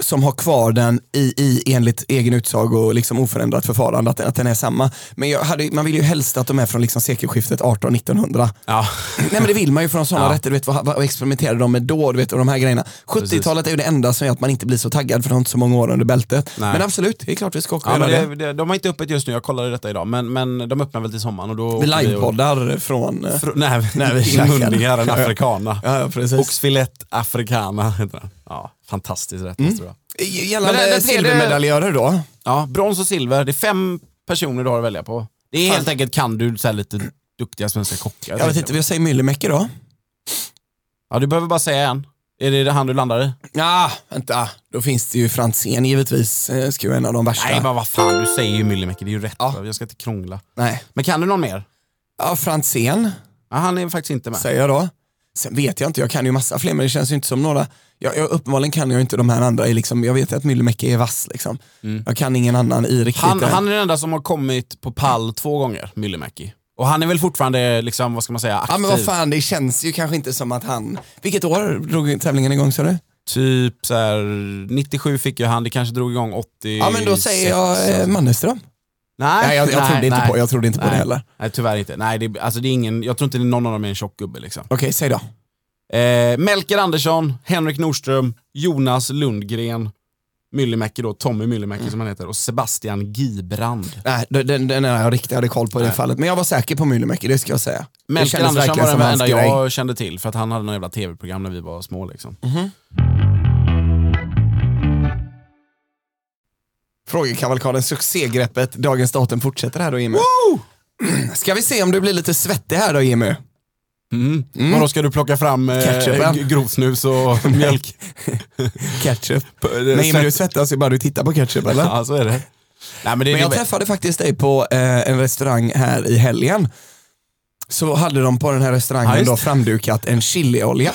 Speaker 2: som har kvar den i, i enligt egen utsago och liksom oförändrat förfarande, att, den- att den är samma. Men jag hade, man vill ju helst att de är från liksom sekelskiftet 18-1900.
Speaker 1: Ja.
Speaker 2: Nej men det vill man ju från sådana
Speaker 1: Ja.
Speaker 2: rätter, du vet, vad, vad experimenterade de med då? Du vet, och de här grejerna. 70-talet är ju det enda som gör att man inte blir så taggad för de har inte så många år under bältet.
Speaker 1: Nej.
Speaker 2: Men absolut, det är klart vi ska åka och
Speaker 1: Ja, men
Speaker 2: göra det.
Speaker 1: det, det, de har inte öppet just nu, jag kollade detta idag, men, men de öppnar väl till sommaren. Och då
Speaker 2: Vi
Speaker 1: åker och-
Speaker 2: livepoddar från... eh,
Speaker 1: Fr- nej,
Speaker 2: När vi
Speaker 1: vi
Speaker 2: käkar.
Speaker 1: inmundigar en afrikana.
Speaker 2: Ja, ja, precis.
Speaker 1: Oxfilett africana heter den. Ja, Mm. fantastiskt rätt tror jag.
Speaker 2: Gällande
Speaker 1: Men eh, den- den tredje-
Speaker 2: silvermedaljörer då?
Speaker 1: Ja, brons och silver, det är fem personer du har att välja på. Det är helt enkelt kan du så här lite duktiga svenska kockar.
Speaker 2: Jag vet inte, jag säger Myllymäki då?
Speaker 1: Ja, du behöver bara säga en. Är det han du landar i?
Speaker 2: Ja, vänta. Då finns det ju Franzén givetvis. Eh, Ska ju en av de värsta.
Speaker 1: Nej, men vad fan, du säger ju Myllymäki, det är ju rätt. va? Jag ska inte krångla.
Speaker 2: Nej.
Speaker 1: Men kan du någon mer?
Speaker 2: Ja, Franzén
Speaker 1: Ja, han är faktiskt inte med.
Speaker 2: säger jag då. Sen vet jag inte, jag kan ju massa fler men det känns ju inte som några, jag, jag, uppenbarligen kan jag inte de här andra, i liksom, jag vet ju att Myllymäki är vass liksom. Jag kan ingen annan i riktigt. eh.
Speaker 1: Han,
Speaker 2: än.
Speaker 1: han är den enda som har kommit på pall två gånger, Myllymäki. Och han är väl fortfarande, liksom, vad ska man säga, aktiv?
Speaker 2: ja men vad fan, det känns ju kanske inte som att han, vilket år drog tävlingen igång sa du?
Speaker 1: Typ så här, 97 fick ju han, det kanske drog igång 80.
Speaker 2: Ja men då säger jag eh, Mannerström.
Speaker 1: Nej,
Speaker 2: Nej, jag, jag,
Speaker 1: nej,
Speaker 2: trodde inte
Speaker 1: nej.
Speaker 2: på, jag trodde inte på det
Speaker 1: Nej.
Speaker 2: heller.
Speaker 1: Nej tyvärr inte. Nej, det, alltså, det är ingen, jag tror inte det är någon av dem är en tjock gubbe liksom.
Speaker 2: Okej, säg då.
Speaker 1: Eh, Melker Andersson, Henrik Nordström, Jonas Lundgren, Myllymäki då, Tommy Myllymäki som han heter och Sebastian Gibrand.
Speaker 2: Nej, den, den, den är jag riktigt hade koll på i det
Speaker 1: Nej.
Speaker 2: fallet. Men jag var säker på Myllymäki, det ska jag säga. Det
Speaker 1: Melker
Speaker 2: kändes
Speaker 1: Andersson
Speaker 2: verkligen
Speaker 1: var den
Speaker 2: som hans
Speaker 1: enda
Speaker 2: grej.
Speaker 1: jag kände till för att han hade några jävla tv-program när vi var små liksom.
Speaker 2: Frågekavalkaden, succégreppet, dagens datum fortsätter här då Jimmy. Ska vi se om du blir lite svettig här då Jimmy?
Speaker 1: Mm. Men då ska du plocka fram eh,
Speaker 2: Ketchupen.
Speaker 1: g- grovsnus och mjölk?
Speaker 2: Ketchup.
Speaker 1: Nej,
Speaker 2: Nej men du svettas ju bara du tittar på ketchup eller?
Speaker 1: Ja, så är det. Nej, men det,
Speaker 2: Men jag
Speaker 1: det-
Speaker 2: träffade faktiskt dig på eh, en restaurang här i helgen. Så hade de på den här
Speaker 1: Ja,
Speaker 2: restaurangen
Speaker 1: just
Speaker 2: då
Speaker 1: det.
Speaker 2: framdukat en chiliolja.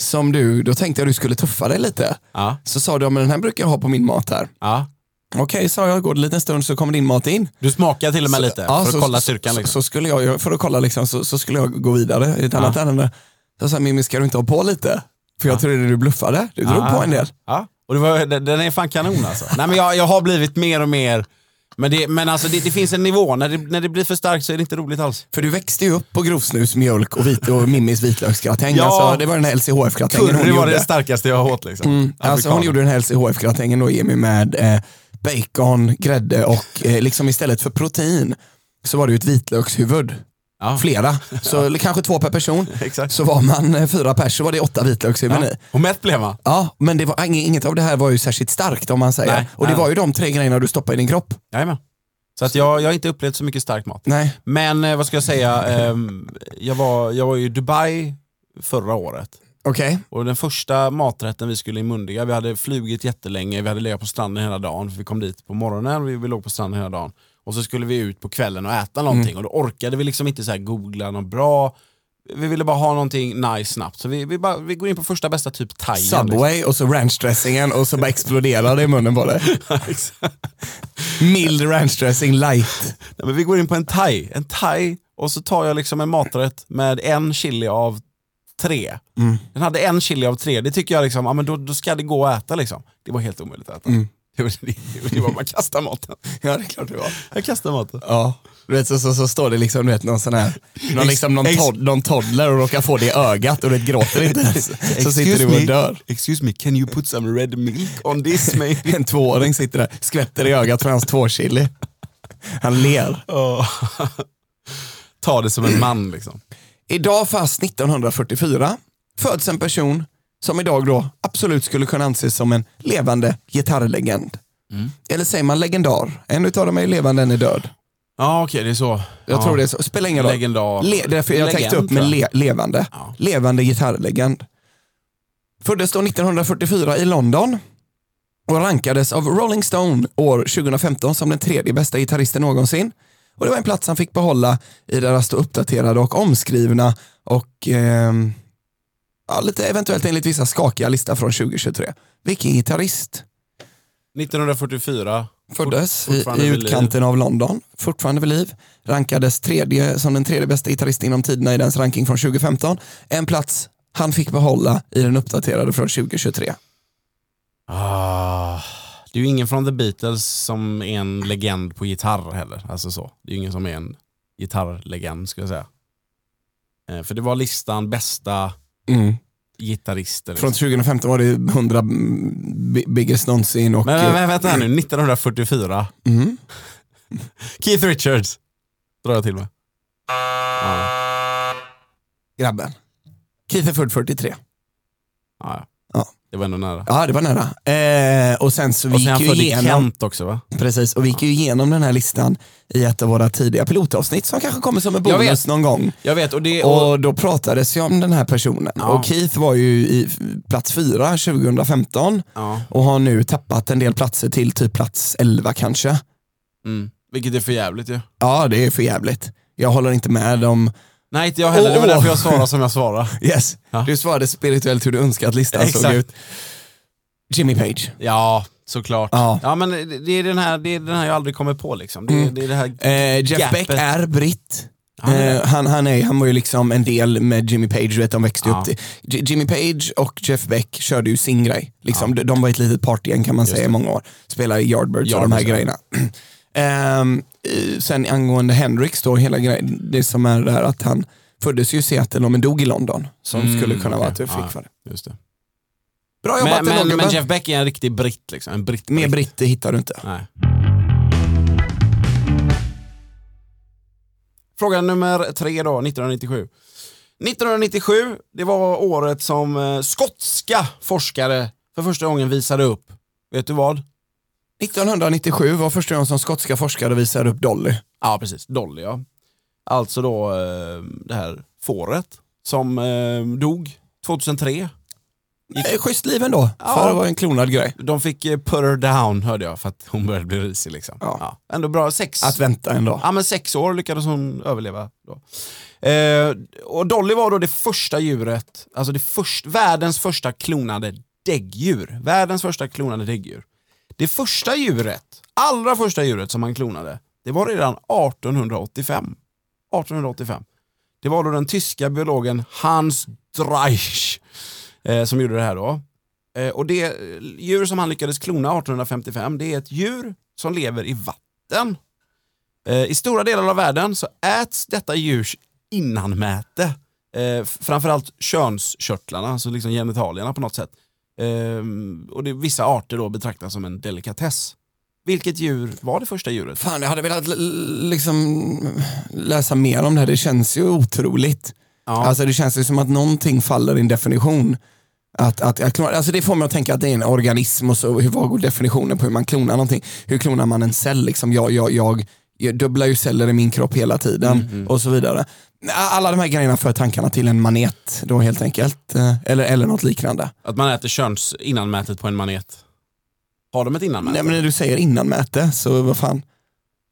Speaker 2: Som du, då tänkte jag du skulle tuffa dig lite.
Speaker 1: ja,
Speaker 2: Så sa du, ja, men den här brukar jag ha på min mat här.
Speaker 1: ja.
Speaker 2: Okej, sa jag, går det en liten stund så kommer din mat in.
Speaker 1: Du smakar till och med lite
Speaker 2: Ja,
Speaker 1: för att
Speaker 2: så-
Speaker 1: kolla
Speaker 2: så-
Speaker 1: styrkan.
Speaker 2: Så,
Speaker 1: Liksom.
Speaker 2: så skulle jag, ju- för att kolla liksom, så, så skulle jag gå vidare i ett annat ärende. Så sa jag, Mimmi ska du inte ha på lite? För jag trodde du bluffade, du
Speaker 1: Ah.
Speaker 2: drog på en del.
Speaker 1: Ja. Och det var, den den är fan kanon alltså. Nej, men jag, jag har blivit mer och mer, men, det, men alltså, det, det finns en nivå, när det, när det blir för starkt så är det inte roligt alls.
Speaker 2: För du växte ju upp på grovsnus, mjölk och, vit, och Mimmis vitlöksgratäng.
Speaker 1: Ja.
Speaker 2: Alltså, det var den här LCHF-gratängen hon
Speaker 1: Curry var
Speaker 2: gjorde.
Speaker 1: det starkaste jag har åt liksom.
Speaker 2: Alltså, hon
Speaker 1: Afrikan.
Speaker 2: gjorde den här LCHF-gratängen då Jimmy med eh, bacon, grädde och eh, liksom istället för protein så var det ju ett vitlökshuvud.
Speaker 1: Ja.
Speaker 2: Flera, så eller kanske två per person.
Speaker 1: Exakt.
Speaker 2: Så var man eh, fyra pers så var det åtta vitlökshuvuden i.
Speaker 1: Och mätt blev man.
Speaker 2: Ja, men det var, ing- inget av det här var ju särskilt starkt om man säger.
Speaker 1: Nej,
Speaker 2: och det
Speaker 1: nej.
Speaker 2: var ju de tre grejerna du stoppade i din kropp.
Speaker 1: Jajamän. Så att jag, jag har inte upplevt så mycket stark mat.
Speaker 2: Nej.
Speaker 1: Men eh, vad ska jag säga, ehm, jag, var, jag var ju i Dubai förra året.
Speaker 2: Okej.
Speaker 1: Och den första maträtten vi skulle inmundiga, vi hade flugit jättelänge, vi hade legat på stranden hela dagen, för vi kom dit på morgonen, vi, vi låg på stranden hela dagen. Och så skulle vi ut på kvällen och äta någonting och då orkade vi liksom inte så här googla något bra, vi ville bara ha någonting nice snabbt. Så vi, vi, bara, vi går in på första bästa typ thai.
Speaker 2: Subway och så ranchdressingen och så bara exploderade i munnen på det. Mild ranchdressing light.
Speaker 1: Nej, men vi går in på en thai, en thai och så tar jag liksom en maträtt med en chili av tre.
Speaker 2: Mm.
Speaker 1: Den hade en chili av tre, det tycker jag liksom, ja, men då, då ska det gå att äta liksom. Det var helt omöjligt att äta.
Speaker 2: Mm.
Speaker 1: Det, var, det, det var bara att kasta maten.
Speaker 2: Ja, det är klart det var.
Speaker 1: Jag kastar maten.
Speaker 2: Ja. Du vet, så, så, så står det liksom, du vet, någon sån här, någon,
Speaker 1: Ex-
Speaker 2: liksom, någon,
Speaker 1: ex-
Speaker 2: tod, någon toddler och råkar få det i ögat och du vet, gråter inte ens. Så sitter du och dör.
Speaker 1: Excuse me, can you put some red milk on this maybe?
Speaker 2: En tvååring sitter där, skvätter i ögat för hans tvåchili. Han ler.
Speaker 1: Ta det som en man liksom.
Speaker 2: Idag fast 1944 föds en person som idag då absolut skulle kunna anses som en levande gitarrlegend. Eller säger man legendar? En utav dem är ju levande, en är död.
Speaker 1: Ja okej, det är så.
Speaker 2: Jag
Speaker 1: ja.
Speaker 2: tror det är så. Spelar ingen roll.
Speaker 1: Legendar.
Speaker 2: Le, därför jag
Speaker 1: Legend,
Speaker 2: täckte upp med
Speaker 1: tror jag.
Speaker 2: le, levande.
Speaker 1: Ja.
Speaker 2: Levande gitarrlegend. Föddes då 1944 i London och rankades av Rolling Stone år 2015 som den tredje bästa gitarristen någonsin. Och det var en plats han fick behålla i deras då uppdaterade och omskrivna och ehm, ja, lite eventuellt enligt vissa skakiga lista från 2023. Vilken gitarrist?
Speaker 1: 1944.
Speaker 2: Föddes
Speaker 1: Fort-
Speaker 2: i,
Speaker 1: fortfarande
Speaker 2: i
Speaker 1: vid liv.
Speaker 2: utkanten av London, fortfarande vid liv. Rankades tredje, som den tredje bästa gitarristen inom tiderna i dens ranking från 2015. En plats han fick behålla i den uppdaterade från 2023.
Speaker 1: Ah, det är ju ingen från The Beatles som är en legend på gitarr heller. Alltså så. Det är ju ingen som är en gitarrlegend skulle jag säga. Eh, för det var listan bästa Mm. gitarrister.
Speaker 2: Från
Speaker 1: Liksom.
Speaker 2: 2015 var det 100 bi- biggest någonsin och...
Speaker 1: Men, men vänta här nu, 1944.
Speaker 2: Mm.
Speaker 1: Keith Richards drar jag till med.
Speaker 2: Grabben. Keith är född 43.
Speaker 1: Ah, ja.
Speaker 2: Ja.
Speaker 1: Det var ändå nära.
Speaker 2: Ja, det var nära. Eh, och sen så
Speaker 1: Och sen
Speaker 2: vi gick
Speaker 1: han
Speaker 2: ju
Speaker 1: födde
Speaker 2: igenom...
Speaker 1: Kent också va?
Speaker 2: Precis, och vi gick ju igenom den här listan i ett av våra tidiga pilotavsnitt som kanske kommer som en
Speaker 1: Jag vet.
Speaker 2: bonus någon gång.
Speaker 1: Jag vet och det... Och,
Speaker 2: Och då pratades ju om den här personen.
Speaker 1: Ja.
Speaker 2: Och Keith var ju i f- plats fyra 2015
Speaker 1: ja.
Speaker 2: och har nu tappat en del platser till typ plats 11 kanske.
Speaker 1: mm. Vilket är för jävligt ju.
Speaker 2: Ja, det är för jävligt. Jag håller inte med om
Speaker 1: Nej, inte jag heller. Det var
Speaker 2: Åh.
Speaker 1: därför jag svarade som jag svarade.
Speaker 2: Yes,
Speaker 1: Ja.
Speaker 2: du svarade spirituellt hur du önskar att listan såg
Speaker 1: Exakt.
Speaker 2: ut. Jimmy Page.
Speaker 1: Ja, såklart.
Speaker 2: Ja.
Speaker 1: Ja, men det- det är den här, det är den här jag aldrig kommer på liksom. Det, är-
Speaker 2: Mm.
Speaker 1: det är det här...
Speaker 2: Eh, Jeff
Speaker 1: Gapet.
Speaker 2: Beck är britt.
Speaker 1: Ja, det är
Speaker 2: Eh, han, han, är, han var ju liksom en del med Jimmy Page, du vet de växte
Speaker 1: Ja.
Speaker 2: upp. till- J- Jimmy Page och Jeff Beck körde ju sin grej. Liksom. De, de var ett litet partygäng kan man
Speaker 1: Just
Speaker 2: säga i
Speaker 1: det.
Speaker 2: många år. Spelade i Yardbirds och de här
Speaker 1: Yardbirds, ja.
Speaker 2: grejerna. Ehm, eh, sen angående Hendrix då, hela grejen, det som är där att han föddes ju i Seattle men dog i London. Som
Speaker 1: Mm,
Speaker 2: skulle kunna vara
Speaker 1: okej.
Speaker 2: att du fick
Speaker 1: Ja.
Speaker 2: för det.
Speaker 1: Just det.
Speaker 2: Bra jobbat
Speaker 1: Men, men, men
Speaker 2: men,
Speaker 1: Jeff Beck är en riktig britt liksom. En britt.
Speaker 2: Mer britter hittar du inte.
Speaker 1: Nej. Fråga nummer tre då, 1997. 1997, det var året som eh, skotska forskare för första gången visade upp, vet du vad?
Speaker 2: 1997 var första gången som skotska forskare visade upp Dolly.
Speaker 1: Ja precis, Dolly ja. Alltså då eh, det här fåret som eh, dog 2003.
Speaker 2: Eh, Schysst liv ändå,
Speaker 1: Ja.
Speaker 2: för det var en klonad grej.
Speaker 1: De fick eh, put her down hörde jag för att hon började bli risig liksom.
Speaker 2: Ja.
Speaker 1: Ändå bra, sex,
Speaker 2: Att vänta en dag.
Speaker 1: ja, men sex år lyckades hon överleva. Då. Eh, och Dolly var då det första djuret, alltså det först, världens första klonade däggdjur. Världens första klonade däggdjur. Det första djuret, allra första djuret som man klonade, det var redan 1885. 1885. Det var då den tyska biologen Hans Dreich eh, som gjorde det här då. Eh, och det djur som han lyckades klona 1855, det är ett djur som lever i vatten. Eh, I stora delar av världen så äts detta djurs innanmäte, eh, f- framförallt könskörtlarna, alltså liksom genitalierna på något sätt. Ehm, och det, vissa arter då betraktas som en delikatess. Vilket djur var det första djuret?
Speaker 2: Fan, jag hade velat l- l- liksom läsa mer om det här. Det känns ju otroligt.
Speaker 1: Ja.
Speaker 2: Alltså det känns ju som att någonting faller i en definition. Att, att, att klona, alltså det får mig att tänka att det är en organism och så, hur, vad går definitionen på hur man klonar någonting? Hur klonar man en cell? Liksom jag, jag, jag, jag dubblar ju celler i min kropp hela tiden och så vidare. Alla de här grejerna för tankarna till en manet då helt enkelt. Eh, Eller, eller något liknande.
Speaker 1: Att man äter köns innanmätet på en manet. Har de ett innanmäte?
Speaker 2: Nej, men när du säger innanmäte så vad fan.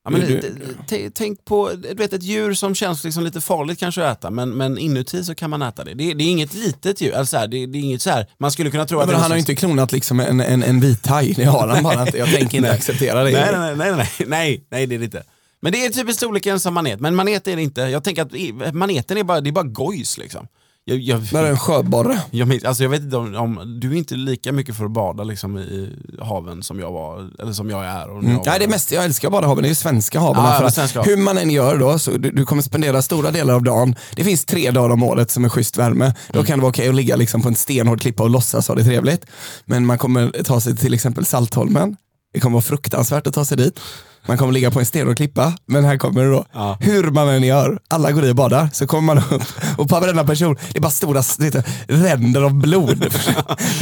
Speaker 1: ja, men,
Speaker 2: du-
Speaker 1: t- t- tänk på du vet, ett djur som känns liksom lite farligt kanske att äta, men, men inuti så kan man äta det. Det, är- det är inget litet djur, alltså, så här, det, det är inget så här. man skulle kunna tro
Speaker 2: Ja,
Speaker 1: att
Speaker 2: men
Speaker 1: det är
Speaker 2: han har ju
Speaker 1: någon
Speaker 2: inte klonat liksom en, en, en vit haj, det har han bara inte. Jag tänker inte acceptera det.
Speaker 1: Nej, nej, nej, nej, nej, nej, nej, det är det inte. Men det är typiskt storleken som manet, men manet är det inte. Jag tänker att i- maneten är bara, det är bara gojs liksom. Jag, jag,
Speaker 2: Bara en sjöborre.
Speaker 1: jag, minns, alltså jag vet inte om, om, du är inte lika mycket för att bada liksom, i haven som jag var, eller som jag är. Och när jag var-
Speaker 2: Mm. Nej, det mesta jag älskar bara haven, det är ju svenska haven.
Speaker 1: Ja,
Speaker 2: För
Speaker 1: ja,
Speaker 2: att
Speaker 1: svenska haven.
Speaker 2: hur man än gör då, så du, du kommer spendera stora delar av dagen, det finns tre dagar om året som är schysst värme. Då
Speaker 1: Mm.
Speaker 2: kan det vara okej att ligga liksom på en stenhård klippa och låtsas ha det trevligt. Men man kommer ta sig till exempel Saltholmen, det kommer vara fruktansvärt att ta sig dit. Man kommer ligga på en stenhård klippa, men här kommer det då.
Speaker 1: Ja.
Speaker 2: Hur man än gör, alla går i och badar, så kommer man upp och på varenda person, det är bara stora det heter, ränder av blod.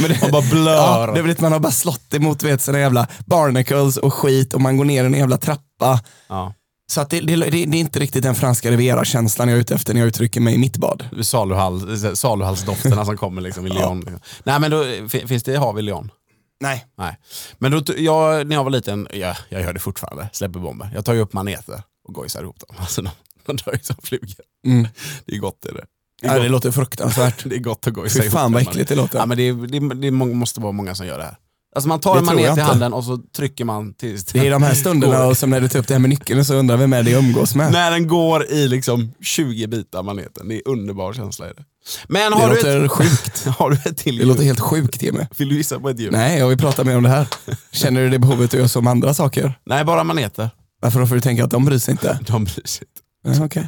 Speaker 2: Men det,
Speaker 1: Och bara blör.
Speaker 2: Ja, det är väl lite- man har bara slått emot vet, sina jävla barnacles och skit och man går ner i en jävla trappa.
Speaker 1: Ja.
Speaker 2: Så att det, det, det, det är inte riktigt den franska riviera-känslan jag är ute efter när jag uttrycker mig i mitt bad.
Speaker 1: Saluhals, saluhalsdofterna som kommer liksom i Lyon. Liksom. Nej men då, fi- finns det hav i Lyon?
Speaker 2: Nej.
Speaker 1: Nej. Men då, t- jag, när jag var liten, jag, jag gör det fortfarande, släpper bomber. Jag tar ju upp maneter och gojsar ihop dem. Alltså, de, de dör ju som flugor.
Speaker 2: Mm.
Speaker 1: Det är gott det är det. Det är
Speaker 2: Ja, det
Speaker 1: gott,
Speaker 2: låter fruktansvärt.
Speaker 1: det är gott att gojsa
Speaker 2: Fy fan
Speaker 1: en
Speaker 2: vad
Speaker 1: manet.
Speaker 2: äckligt det låter.
Speaker 1: Ja, men det, är- det, är- det är mång- måste vara många som gör det här. Alltså man tar
Speaker 2: Det
Speaker 1: en
Speaker 2: tror
Speaker 1: manet
Speaker 2: jag
Speaker 1: i
Speaker 2: inte.
Speaker 1: handen och så trycker man tills
Speaker 2: Det är i de här stunderna
Speaker 1: går-
Speaker 2: och som när du tar upp det här med nyckeln och så undrar vem är det jag umgås med.
Speaker 1: När den går i liksom 20 bitar maneten. Det är underbar känsla. Är det. Men har
Speaker 2: det
Speaker 1: du, ett,
Speaker 2: låter sjukt.
Speaker 1: har du ett till
Speaker 2: Det låter helt sjukt Jimmy.
Speaker 1: Vill du gissa på ett djur?
Speaker 2: Nej, jag vill prata mer om det här. Känner du det behovet att göra så med andra saker?
Speaker 1: Nej, bara maneter.
Speaker 2: Varför då får du tänka att de bryr sig inte?
Speaker 1: De bryr sig inte.
Speaker 2: Ja, Okej.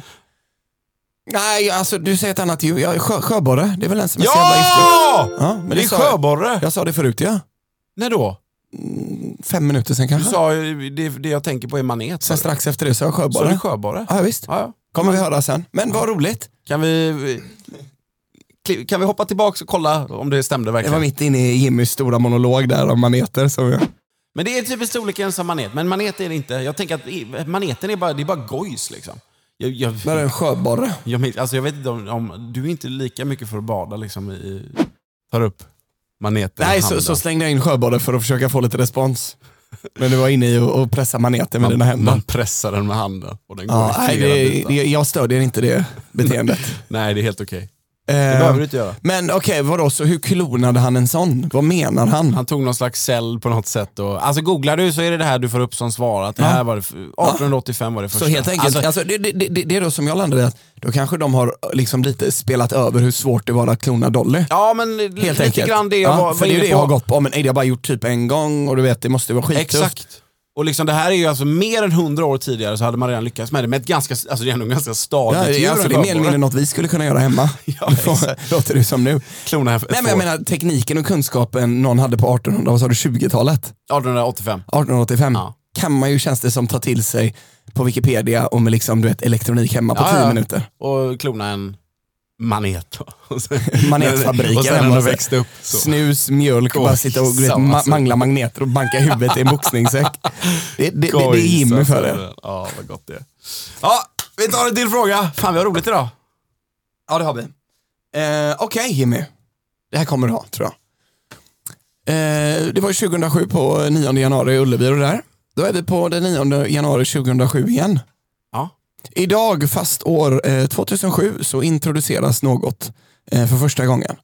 Speaker 2: Nej, alltså du säger ett annat djur. Ja, sjö, sjöborre, det är väl den som är så jävla giftig.
Speaker 1: Ja!
Speaker 2: Ja, men det,
Speaker 1: Det är
Speaker 2: sa jag,
Speaker 1: sjöborre.
Speaker 2: jag sa det förut ja.
Speaker 1: När då?
Speaker 2: Fem minuter sen
Speaker 1: Du
Speaker 2: kanske.
Speaker 1: sa ju det, det jag tänker på är manet.
Speaker 2: Sen
Speaker 1: sa
Speaker 2: strax efter det sa jag
Speaker 1: du. Sa du
Speaker 2: sjöborre.
Speaker 1: sjöborre?
Speaker 2: Ja, visst.
Speaker 1: Ja, ja.
Speaker 2: Kommer vi höra sen. Men vad roligt.
Speaker 1: Kan vi... kli- Kan vi hoppa tillbaka och kolla om det stämde
Speaker 2: Det var
Speaker 1: verkligen?
Speaker 2: mitt inne i Jimmys stora monolog där om maneter. Som jag...
Speaker 1: Men det är typiskt storleken som manet, men manet är det inte. Jag tänker att i- maneten är bara, det är bara gojs liksom. Jag, jag,
Speaker 2: Där är en sjöborre.
Speaker 1: jag, minns- alltså jag vet inte om, om... Du är inte lika mycket för att bada liksom i... Tar upp maneten i
Speaker 2: Nej, så,
Speaker 1: handen.
Speaker 2: så slängde jag in sjöborre för att försöka få lite respons. Men du var inne i att pressa maneten med dina
Speaker 1: Man,
Speaker 2: händer.
Speaker 1: man pressar den med handen och den går
Speaker 2: Ja,
Speaker 1: i
Speaker 2: nej,
Speaker 1: flera
Speaker 2: det,
Speaker 1: bitar.
Speaker 2: det, jag stödjer inte det beteendet.
Speaker 1: Nej, det är helt okej. Det behöver
Speaker 2: eh,
Speaker 1: du inte göra.
Speaker 2: men okej, vadå, så hur klonade han en sån? Vad menar han?
Speaker 1: Han tog någon slags cell på något sätt. Och, alltså googlar du så är det det här du får upp som svar. Att det här var det, f- 1885 var det första.
Speaker 2: Så helt enkelt,
Speaker 1: Alltså,
Speaker 2: alltså, det, det, det, det är då som jag landade i att då kanske de har liksom lite spelat över hur svårt det var att klona Dolly.
Speaker 1: ja men helt
Speaker 2: Helt
Speaker 1: lite
Speaker 2: enkelt.
Speaker 1: grann det jag
Speaker 2: ja,
Speaker 1: var,
Speaker 2: för
Speaker 1: var
Speaker 2: det är ju
Speaker 1: inne
Speaker 2: det jag
Speaker 1: på.
Speaker 2: har gått på. Men nej, det har bara gjort typ en gång och du vet det måste ju vara skittufft.
Speaker 1: Exakt. Och liksom det här är ju alltså mer än 100 år tidigare så hade man redan lyckats med det. Med ett ganska, alltså det är ändå en ganska stadigt
Speaker 2: Ja, det,
Speaker 1: djur
Speaker 2: alltså, det är
Speaker 1: ändå.
Speaker 2: mer eller mindre något vi skulle kunna göra hemma.
Speaker 1: Ja,
Speaker 2: Låter- Låter det som nu.
Speaker 1: Klona här för
Speaker 2: Nej men jag
Speaker 1: får-
Speaker 2: menar tekniken och kunskapen någon hade på 1800, vad sa du, 20-talet?
Speaker 1: 1885.
Speaker 2: 1885
Speaker 1: Ja.
Speaker 2: kan man ju känns det som ta till sig på Wikipedia och med liksom, du vet, elektronik hemma på
Speaker 1: Ja,
Speaker 2: 10
Speaker 1: ja.
Speaker 2: minuter.
Speaker 1: Och klona en manet. då. Och sen-
Speaker 2: Manetfabriken
Speaker 1: Och sen när
Speaker 2: hemma
Speaker 1: den
Speaker 2: och så-
Speaker 1: växte upp. Så.
Speaker 2: Snus, mjölk och
Speaker 1: Gå
Speaker 2: bara
Speaker 1: och
Speaker 2: sitta och du vet,
Speaker 1: kissa,
Speaker 2: ma-
Speaker 1: alltså.
Speaker 2: mangla magneter och banka huvudet i en boxningssäck. Det, det, det, det är Jimmy
Speaker 1: alltså.
Speaker 2: för det.
Speaker 1: Ja, vad gott det är. Ja, vi tar en till fråga. Fan, vi har roligt idag.
Speaker 2: Ja det har vi. Eh, Okej Jimmy, det här kommer du ha tror jag. Eh, det var ju 2007 på 9 januari i Ullevi och där. Då är vi på den 9 januari 2007 igen.
Speaker 1: Ja.
Speaker 2: Idag, fast år eh, 2007, så introduceras något eh, för första gången.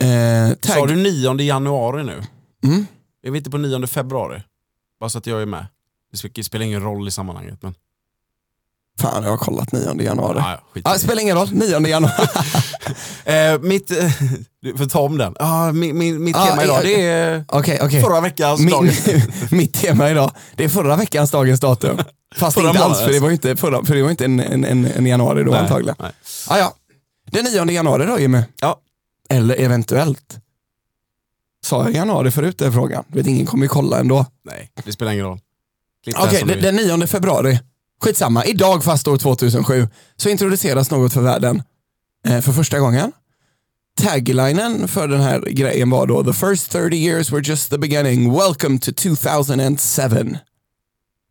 Speaker 2: Eh, tag-
Speaker 1: Sa du 9 januari nu?
Speaker 2: Mm.
Speaker 1: Är vi inte på 9 februari? Bara så att jag är med. Det sp- Det spelar ingen roll i sammanhanget. Men...
Speaker 2: Fan, jag har kollat 9 januari.
Speaker 1: Ja, ja, skit i
Speaker 2: Ah, det
Speaker 1: det.
Speaker 2: spelar ingen roll, 9 januari.
Speaker 1: Eh, mitt... Du får ta om den. Ah, min, min, mitt
Speaker 2: Ja,
Speaker 1: tema idag
Speaker 2: jag-
Speaker 1: det är
Speaker 2: Okej, okej.
Speaker 1: förra veckans dag.
Speaker 2: Min, mitt tema idag, det är förra veckans dagens datum. Fast
Speaker 1: Förra
Speaker 2: inte alls,
Speaker 1: månaden.
Speaker 2: för det var ju inte, förra, för det var ju inte en, en, en, en januari då
Speaker 1: Nej,
Speaker 2: antagligen.
Speaker 1: nej.
Speaker 2: Ah, ja. Den 9 januari då Jimmy?
Speaker 1: Ja.
Speaker 2: Eller eventuellt? Sa jag januari förut den frågan? Du Vet, ingen kommer ju kolla ändå.
Speaker 1: Nej, det spelar ingen roll. Klipp det här
Speaker 2: Okej,
Speaker 1: som
Speaker 2: den-
Speaker 1: du vill.
Speaker 2: den 9 februari. Skitsamma, idag fast år 2007 så introduceras något för världen eh, för första gången. Taglinen för den här grejen var då “The first 30 years were just the beginning, welcome to 2007”.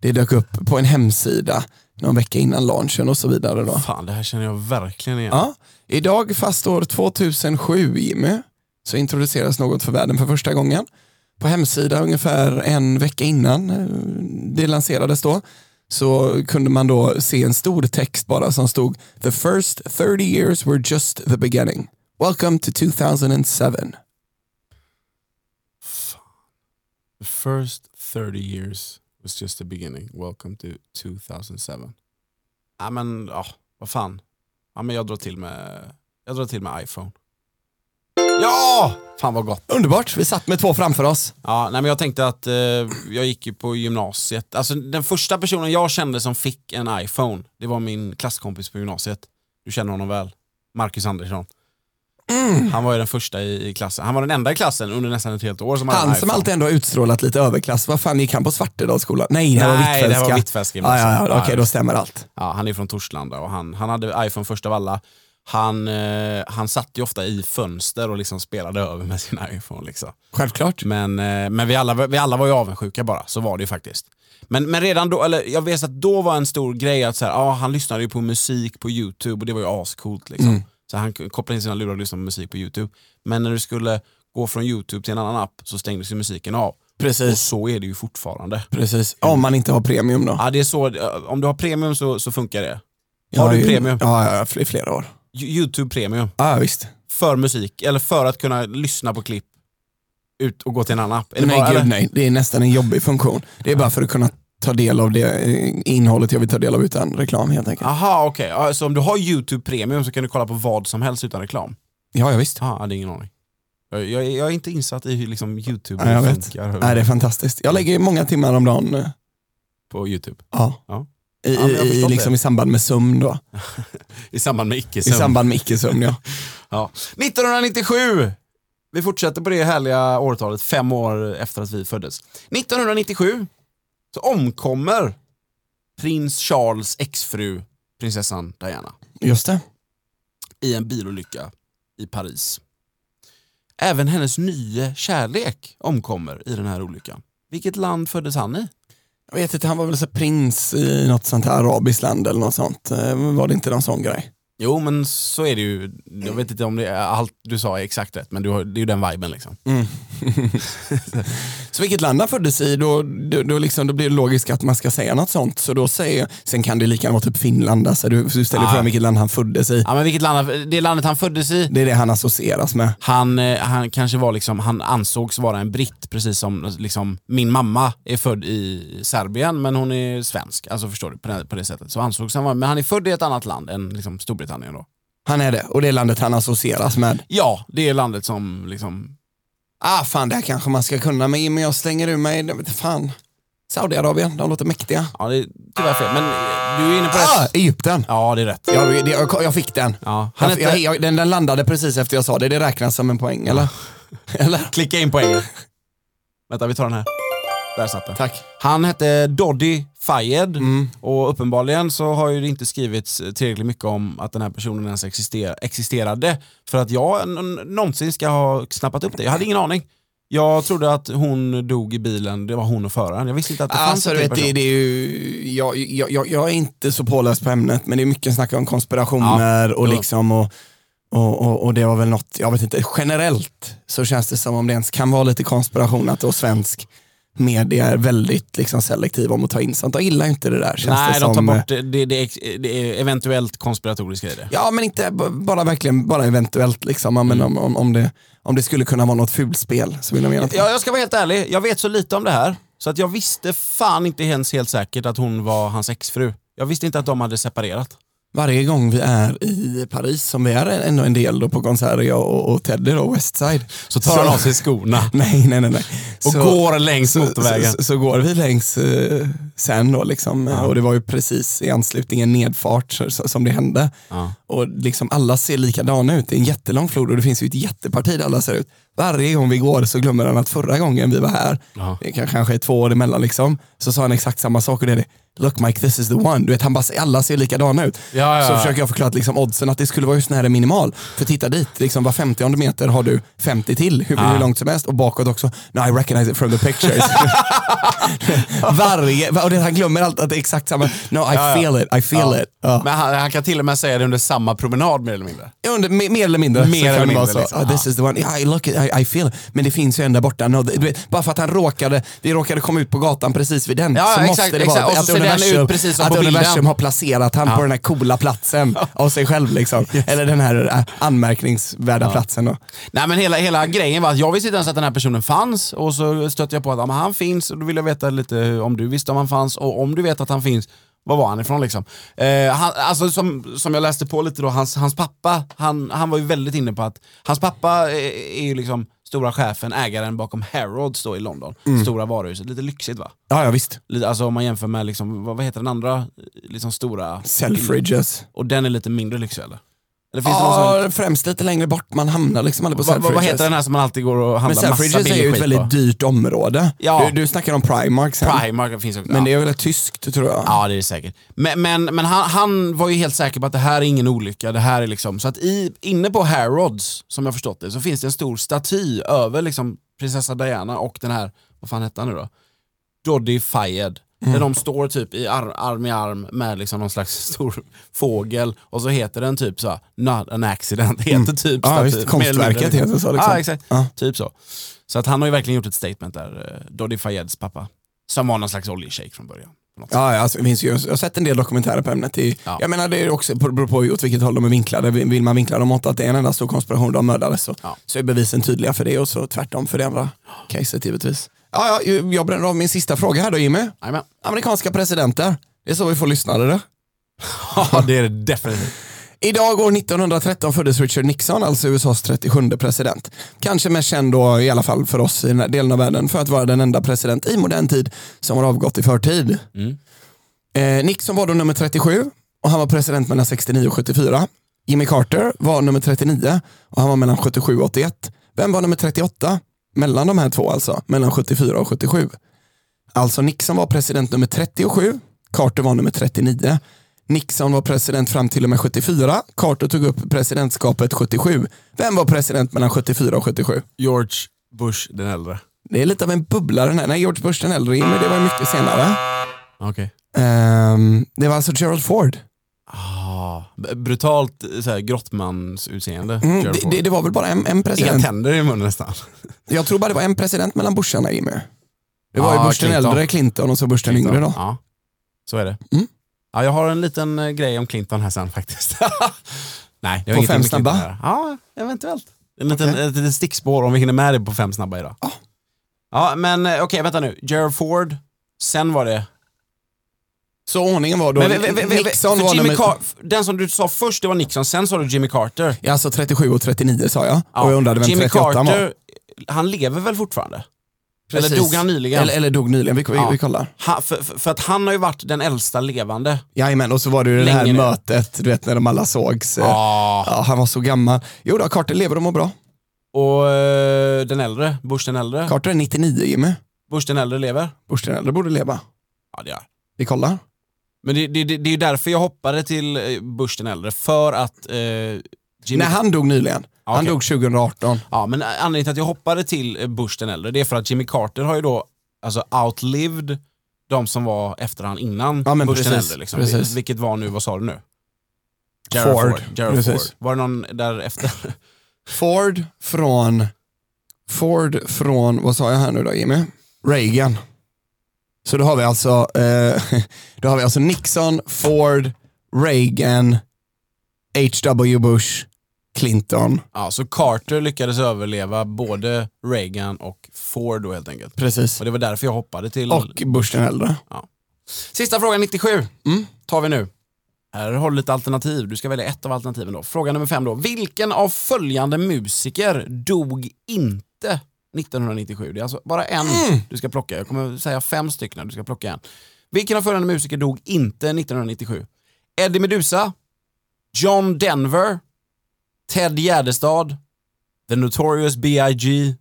Speaker 2: Det dök upp på en hemsida någon vecka innan launchen och så vidare. Då.
Speaker 1: Fan, det här känner jag verkligen igen.
Speaker 2: Ja, idag fast år 2007 Jimmy så introduceras något för världen för första gången. På hemsidan ungefär en vecka innan eh, det lanserades då så kunde man då se en stor text bara som stod “The first 30 years were just the beginning. Welcome to 2007”.
Speaker 1: The first 30 years was just the beginning. Welcome to 2007. Ja men, ja, vad fan. Ja men jag drar till med, jag drar till med iPhone. Ja! Fan vad gott.
Speaker 2: Underbart, vi satt med två framför oss.
Speaker 1: Ja, nej men jag tänkte att eh, jag gick ju på gymnasiet. Alltså den första personen jag kände som fick en iPhone, det var min klasskompis på gymnasiet. Du känner honom väl? Marcus Andersson.
Speaker 2: Mm.
Speaker 1: Han var ju den första i, i klassen. Han var den enda i klassen under nästan ett helt år som hade en
Speaker 2: Han som
Speaker 1: iPhone.
Speaker 2: alltid ändå har utstrålat lite överklass, vad fan gick han på Svartedalsskolan? Nej, det här var
Speaker 1: Nej, det här var Hvitfeldtska
Speaker 2: Hvitfeldtska. Ja, ja, ja, okej
Speaker 1: Ja,
Speaker 2: då stämmer allt.
Speaker 1: Ja, han är från Torslanda och han, han hade iPhone först av alla. Han, eh, han satt ju ofta i fönster och liksom spelade över med sin iPhone. Liksom.
Speaker 2: Självklart.
Speaker 1: Men, eh, men vi, alla, vi alla var ju avundsjuka bara, så var det ju faktiskt. Men, men redan då, eller jag vet att då var en stor grej att så här, ah, han lyssnade ju på musik på YouTube och det var ju ascoolt. Liksom. Så han k- kopplade in sina lurar och lyssnade på musik på YouTube. Men när du skulle gå från YouTube till en annan app så stängdes ju musiken av. Och
Speaker 2: Precis.
Speaker 1: så är det ju fortfarande.
Speaker 2: Precis, om man inte har premium då.
Speaker 1: Ja, det är så, eh, om du har premium så, så funkar det.
Speaker 2: Jag
Speaker 1: Har du
Speaker 2: ju-
Speaker 1: premium?
Speaker 2: Ja, ja, i flera år.
Speaker 1: Youtube Premium
Speaker 2: Ja, visst.
Speaker 1: för musik, eller för att kunna lyssna på klipp ut och gå till en annan app. Är det
Speaker 2: Nej,
Speaker 1: bara-
Speaker 2: gud,
Speaker 1: eller?
Speaker 2: nej, det är nästan en jobbig funktion. Det är bara för att kunna ta del av det eh, innehållet jag vill ta del av utan reklam helt enkelt.
Speaker 1: Aha, okej. Ja, Så om du har Youtube Premium så kan du kolla på vad som helst utan reklam?
Speaker 2: Ja, ja visst.
Speaker 1: Ah, jag hade ingen aning. Jag, jag, jag är inte insatt i hur liksom Youtube
Speaker 2: Ja, jag vet.
Speaker 1: funkar
Speaker 2: Nej, det är fantastiskt. Jag lägger många timmar om dagen eh,
Speaker 1: på Youtube.
Speaker 2: ja.
Speaker 1: Ja.
Speaker 2: I,
Speaker 1: Ja, men jag
Speaker 2: i,
Speaker 1: förstår
Speaker 2: liksom
Speaker 1: det.
Speaker 2: i samband med sömn då.
Speaker 1: I samband med icke
Speaker 2: I samband med icke-sömn ja.
Speaker 1: ja. 1997! Vi fortsätter på det härliga årtalet, fem år efter att vi föddes. 1997 så omkommer prins Charles exfru, prinsessan Diana.
Speaker 2: Just det.
Speaker 1: i en bilolycka i Paris. Även hennes nye kärlek omkommer i den här olyckan. Vilket land föddes han i?
Speaker 2: Jag vet inte, han var väl så prins i något sånt här arabiskt land eller något sånt. Eh, Var det inte någon sån grej?
Speaker 1: Jo, men så är det ju. Jag vet inte om det är allt du sa är exakt rätt, men du har, det är ju den viben liksom.
Speaker 2: Så vilket land han föddes i, då, då, då, liksom, då blir det logiskt att man ska säga något sånt. Så då säger jag, sen kan det lika gärna vara typ Finland, alltså, du, du ställer
Speaker 1: Ja.
Speaker 2: frågan vilket land han föddes i.
Speaker 1: Ja, men vilket land, han- det landet han föddes i,
Speaker 2: Det är det han associeras med.
Speaker 1: han, eh, han kanske var liksom, han ansågs vara en britt precis som liksom, min mamma är född i Serbien men hon är svensk. Alltså förstår du, på det, på det sättet. Så ansågs han vara, men han är född i ett annat land än liksom, Storbritannien då.
Speaker 2: Han är det, och det är landet han associeras med.
Speaker 1: Ja, det är landet som liksom,
Speaker 2: Ah fan, det här kanske man ska kunna, men men jag slänger ur mig, det- fan. Saudiarabien, de låter mäktiga.
Speaker 1: ja det är tyvärr fel. Men eh, du är inne på rätt.
Speaker 2: Ah, Egypten!
Speaker 1: Ja, det är rätt.
Speaker 2: Jag, det- jag, jag fick den.
Speaker 1: Ja. Han
Speaker 2: Jag, jag,
Speaker 1: hette,
Speaker 2: jag, den, den landade precis efter jag sa det, det räknas som en poäng eller? eller?
Speaker 1: klicka in poängen. Vänta, vi tar den här. Där satt den.
Speaker 2: Tack. Mm.
Speaker 1: Han hette Doddy Fayed och uppenbarligen så har ju det inte skrivits tillräckligt mycket om att den här personen ens exister- existerade för att jag n- n- någonsin ska ha snappat upp det. Jag hade ingen aning. Jag trodde att hon dog i bilen, det var hon och föraren. Jag visste inte att det fanns
Speaker 2: Alltså,
Speaker 1: en
Speaker 2: du
Speaker 1: till
Speaker 2: vet, det,
Speaker 1: person.
Speaker 2: det är ju, jag, jag, jag, jag är inte så påläst på ämnet men det är mycket snack om konspirationer och
Speaker 1: Ja.
Speaker 2: liksom och, och, och, och det var väl något, jag vet inte, generellt så känns det som om det ens kan vara lite konspiration att då svensk media är väldigt liksom selektiv om att ta in sånt. De gillar ju inte det där känns det
Speaker 1: Nej,
Speaker 2: som. eh,
Speaker 1: de tar bort det, det, det, ex- det är eventuellt konspiratoriska i det.
Speaker 2: Ja men inte b- bara verkligen, bara eventuellt liksom. Ja,
Speaker 1: Mm.
Speaker 2: Men om, om, om, det, om det skulle kunna vara något fulspel så vill de gärna ta
Speaker 1: Jag, jag ska vara helt ärlig, jag vet så lite om det här så att jag visste fan inte ens helt säkert att hon var hans exfru. Jag visste inte att de hade separerat.
Speaker 2: Varje gång vi är i Paris, som vi är ändå en del då på konserter, jag och, och Teddy då, Westside.
Speaker 1: Så tar han av sig skorna
Speaker 2: Nej, nej, nej. nej.
Speaker 1: och går längs
Speaker 2: så,
Speaker 1: motorvägen.
Speaker 2: så, så, så går vi längs eh, sen då liksom. Och det var ju precis i anslutningen nedfart så, så, som det hände.
Speaker 1: Ja.
Speaker 2: Och liksom alla ser likadana ut, det är en jättelång flod och det finns ju ett jätteparti där alla ser ut. Varje gång vi går så glömmer han att förra gången vi var här,
Speaker 1: Ja.
Speaker 2: det kan- kanske är två år emellan liksom, så sa han exakt samma sak och det är det. Look Mike, this is the one. Du vet, han bara, alla ser likadana ut.
Speaker 1: Ja, ja,
Speaker 2: så
Speaker 1: ja.
Speaker 2: försöker jag förklara att liksom, oddsen att det skulle vara just när det är minimal. För titta dit, liksom, var 50 meter har du 50 till, hur, hur långt som helst. Och bakåt också, no I recognize it from the pictures. Varje, och det, han glömmer allt att det är exakt samma, no I feel it, I feel it. Ja.
Speaker 1: Men han, han kan till och med säga det under samma promenad mer eller mindre.
Speaker 2: Jag undrar, mer, mer eller mindre.
Speaker 1: Mer
Speaker 2: så kan
Speaker 1: eller
Speaker 2: det
Speaker 1: mindre,
Speaker 2: vara så.
Speaker 1: liksom.
Speaker 2: Ah, this is the one, yeah, I look, it, I, I feel. it. Men det finns ju en där borta. No, det, du vet, bara för att han råkade, vi råkade komma ut på gatan precis vid den.
Speaker 1: Ja,
Speaker 2: så
Speaker 1: exakt,
Speaker 2: måste det
Speaker 1: exakt.
Speaker 2: vara
Speaker 1: Och så
Speaker 2: att
Speaker 1: ser den
Speaker 2: universum,
Speaker 1: ut precis som
Speaker 2: att
Speaker 1: på bilden.
Speaker 2: universum har placerat han på den här coola platsen av sig själv. Liksom. Eller den här äh, anmärkningsvärda platsen. Då.
Speaker 1: Nej men hela, hela grejen var att jag visste inte ens att den här personen fanns och så stötte jag på att ja, men han finns och då ville jag veta lite hur- om du visste om han fanns och om du vet att han finns, var var han ifrån liksom? Eh, han, alltså som, som jag läste på lite då, hans, hans pappa, han, han var ju väldigt inne på att hans pappa eh, är ju liksom stora chefen, ägaren bakom Harrods då i London,
Speaker 2: Mm.
Speaker 1: stora varuhuset, lite lyxigt va?
Speaker 2: Ja, ja visst.
Speaker 1: Lite, alltså om man jämför med liksom, vad, vad heter den andra eh, liksom stora?
Speaker 2: Selfridges.
Speaker 1: Och den är lite mindre lyxig eller? Eller finns det någon sån?
Speaker 2: Ja, främst lite längre bort. Man hamnar liksom aldrig på
Speaker 1: Vad, vad,
Speaker 2: Selfridges.
Speaker 1: vad heter den här som man alltid går och
Speaker 2: Men
Speaker 1: handlar massa billig
Speaker 2: Selfridges är ju ett
Speaker 1: skit
Speaker 2: väldigt
Speaker 1: på?
Speaker 2: dyrt område.
Speaker 1: Ja.
Speaker 2: Du, du snackar om Primark sen.
Speaker 1: Primark finns också.
Speaker 2: Men det
Speaker 1: ja.
Speaker 2: är väl tyskt tror jag.
Speaker 1: ja det är det säkert. Men, men, men han, han var ju helt säker på att det här är ingen olycka. Det här är liksom, så att i, inne på Harrods, som jag förstått det, så finns det en stor staty över liksom prinsessa Diana och den här, vad fan hette han nu då? Doddy Fayed.
Speaker 2: Mm.
Speaker 1: Där de står typ i ar- arm i arm med liksom någon slags stor fågel och så heter den typ så här, not an accident, heter typ
Speaker 2: Mm. Ja,
Speaker 1: staty-
Speaker 2: visst.
Speaker 1: mer eller
Speaker 2: Konstverket
Speaker 1: mindre, liksom.
Speaker 2: heter så, liksom.
Speaker 1: Ja, exakt.
Speaker 2: Ja.
Speaker 1: Typ så. Så att han har ju verkligen gjort ett statement där, eh, Doddy Fayeds pappa. Som var någon slags oljeshejk från början. på något sätt.
Speaker 2: Ja, ja, alltså, det finns ju, jag har sett en del dokumentärer på ämnet. Det, är-
Speaker 1: Ja.
Speaker 2: Jag menar, det är också, beror på åt vilket håll de är vinklade. Vill vill man vinkla dem åt att det är en enda stor konspiration, de mördades, så,
Speaker 1: Ja.
Speaker 2: så är bevisen tydliga för det och så tvärtom för det andra caset givetvis. Ja, ja, ju- jag bränner av min sista fråga här då Jimmy.
Speaker 1: Jajamän.
Speaker 2: Amerikanska presidenter, det är så vi får lyssnare då.
Speaker 1: Ja, det är det definitivt.
Speaker 2: Idag år 1913 föddes Richard Nixon, alltså USAs 37 president. Kanske mest känd då, i alla fall för oss i den här delen av världen, för att vara den enda president i modern tid som har avgått i förtid. Eh, Nixon var då nummer 37 och han var president mellan 69 och 74. Jimmy Carter var nummer 39 och han var mellan 77 och 81. Vem var nummer 38? Mellan de här två alltså, mellan 74 och 77. Alltså Nixon var president nummer 37, Carter var nummer 39. Nixon var president fram till och med 74, Carter tog upp presidentskapet 77. Vem var president mellan 74 och 77?
Speaker 1: George Bush den äldre.
Speaker 2: Det är lite av en bubbla den här. Nej, George Bush den äldre, Jimmy, det var mycket senare.
Speaker 1: Okej.
Speaker 2: Ehm, det var alltså Gerald Ford.
Speaker 1: Ah, Ja, b- brutalt eh, så här, grottmansutseende.
Speaker 2: Mm,
Speaker 1: kör
Speaker 2: det,
Speaker 1: på.
Speaker 2: det, det var väl bara en, en
Speaker 1: Inga
Speaker 2: president.
Speaker 1: tänder i munnen nästan.
Speaker 2: Jag tror bara det var en president mellan Busharna Jimmy. Det var
Speaker 1: Ja,
Speaker 2: ju Bush den
Speaker 1: Clinton. Ah.
Speaker 2: äldre, Clinton och så Bush den yngre då.
Speaker 1: Ja, så är det.
Speaker 2: Mm.
Speaker 1: Ja, jag har en liten eh, grej om Clinton här sen faktiskt. Nej, det har
Speaker 2: På
Speaker 1: ingenting med
Speaker 2: fem
Speaker 1: Clinton
Speaker 2: snabba?
Speaker 1: att göra. Ja, eventuellt. En liten,
Speaker 2: Okej. Ah.
Speaker 1: Ett litet stickspår om vi hinner med det på fem snabba idag.
Speaker 2: Ja.
Speaker 1: Ja, men eh, okej, vänta nu. Gerald Ford, sen var det...
Speaker 2: Så ordningen var då,
Speaker 1: Men, vä- vä- vä- vä-
Speaker 2: Nixon
Speaker 1: för
Speaker 2: var
Speaker 1: Jimmy
Speaker 2: nummer...
Speaker 1: Car- den som du sa först, det var Nixon, sen sa du Jimmy Carter.
Speaker 2: Ja, alltså 37 och 39 sa jag.
Speaker 1: Ja,
Speaker 2: Och jag undrade vem
Speaker 1: Jimmy
Speaker 2: 38
Speaker 1: Carter,
Speaker 2: var.
Speaker 1: han lever väl fortfarande?
Speaker 2: Precis.
Speaker 1: Eller dog han nyligen?
Speaker 2: Eller, eller dog nyligen, vi, vi,
Speaker 1: Ja.
Speaker 2: vi kollar.
Speaker 1: Ha, för, för för att han har ju varit den äldsta levande.
Speaker 2: Jajamän, och så var det ju det här
Speaker 1: Länge nu.
Speaker 2: mötet, du vet när de alla sågs. eh,
Speaker 1: Ah.
Speaker 2: Ja, han var så gammal. Jo då, Carter lever och mår bra.
Speaker 1: Och eh, den äldre, Bush den äldre.
Speaker 2: Carter är 99 Jimmy.
Speaker 1: Bush den äldre lever.
Speaker 2: Bush den äldre borde leva.
Speaker 1: Ja, det gör han.
Speaker 2: Vi kollar.
Speaker 1: Men det, det, det, det är ju därför jag hoppade till eh, Bush den äldre, för att eh, Jimmy...
Speaker 2: Nej, han dog nyligen.
Speaker 1: Ja,
Speaker 2: Han
Speaker 1: okej.
Speaker 2: dog 2018.
Speaker 1: Ja, men anledningen till att jag hoppade till eh, Bush den äldre, det är för att Jimmy Carter har ju då alltså outlived de som var efter han innan
Speaker 2: Ja, men
Speaker 1: Bush den
Speaker 2: precis,
Speaker 1: äldre. Liksom.
Speaker 2: precis.
Speaker 1: Vil- Vilket var nu, vad sa du nu?
Speaker 2: Ford.
Speaker 1: Gerald Ford.
Speaker 2: Precis.
Speaker 1: Var det någon därefter?
Speaker 2: Ford från... Ford från, vad sa jag här nu då Jimmy? Reagan. Så då har vi alltså, eh, då har vi alltså Nixon, Ford, Reagan, H.W. Bush, Clinton.
Speaker 1: ja, så Carter lyckades överleva både Reagan och Ford då helt enkelt.
Speaker 2: Precis.
Speaker 1: Och det var därför jag hoppade till...
Speaker 2: Och Bush den äldre.
Speaker 1: Sista frågan 97
Speaker 2: Mm.
Speaker 1: tar vi nu. Här har du lite alternativ. Du ska välja ett av alternativen då. Fråga nummer fem då. Vilken av följande musiker dog inte 1997? Det är alltså bara en du ska plocka. Jag kommer säga fem stycken. Du ska plocka en. Vilken av följande musiker dog inte 1997? Eddie Meduza, John Denver, Ted Gärdestad, The Notorious B.I.G,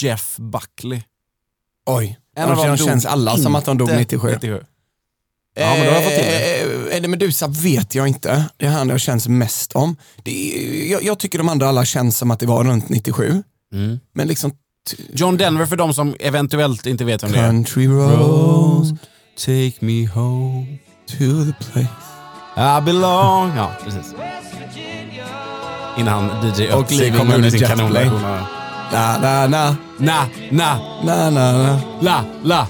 Speaker 1: Jeff Buckley.
Speaker 2: Oj,
Speaker 1: En
Speaker 2: de,
Speaker 1: av dem
Speaker 2: de
Speaker 1: dog
Speaker 2: känns alla som att de dog
Speaker 1: inte
Speaker 2: 97.
Speaker 1: Ja, men då har jag fått till
Speaker 2: Eh, Eddie Meduza vet jag inte. Det är han jag känns mest om. Det är, jag, jag tycker de andra alla känns som att det var runt 97.
Speaker 1: Mm.
Speaker 2: Men liksom
Speaker 1: John Denver för de som eventuellt inte vet vem det är.
Speaker 2: Country roads
Speaker 1: take me home
Speaker 2: to the place.
Speaker 1: I belong. Ja, precis. Innan DJ
Speaker 2: Och
Speaker 1: Ötzi
Speaker 2: Living
Speaker 1: kommer
Speaker 2: on a
Speaker 1: med sin
Speaker 2: Jet
Speaker 1: kanonversion. av-
Speaker 2: Na, na, na,
Speaker 1: Na, na,
Speaker 2: na, na, na.
Speaker 1: la, la.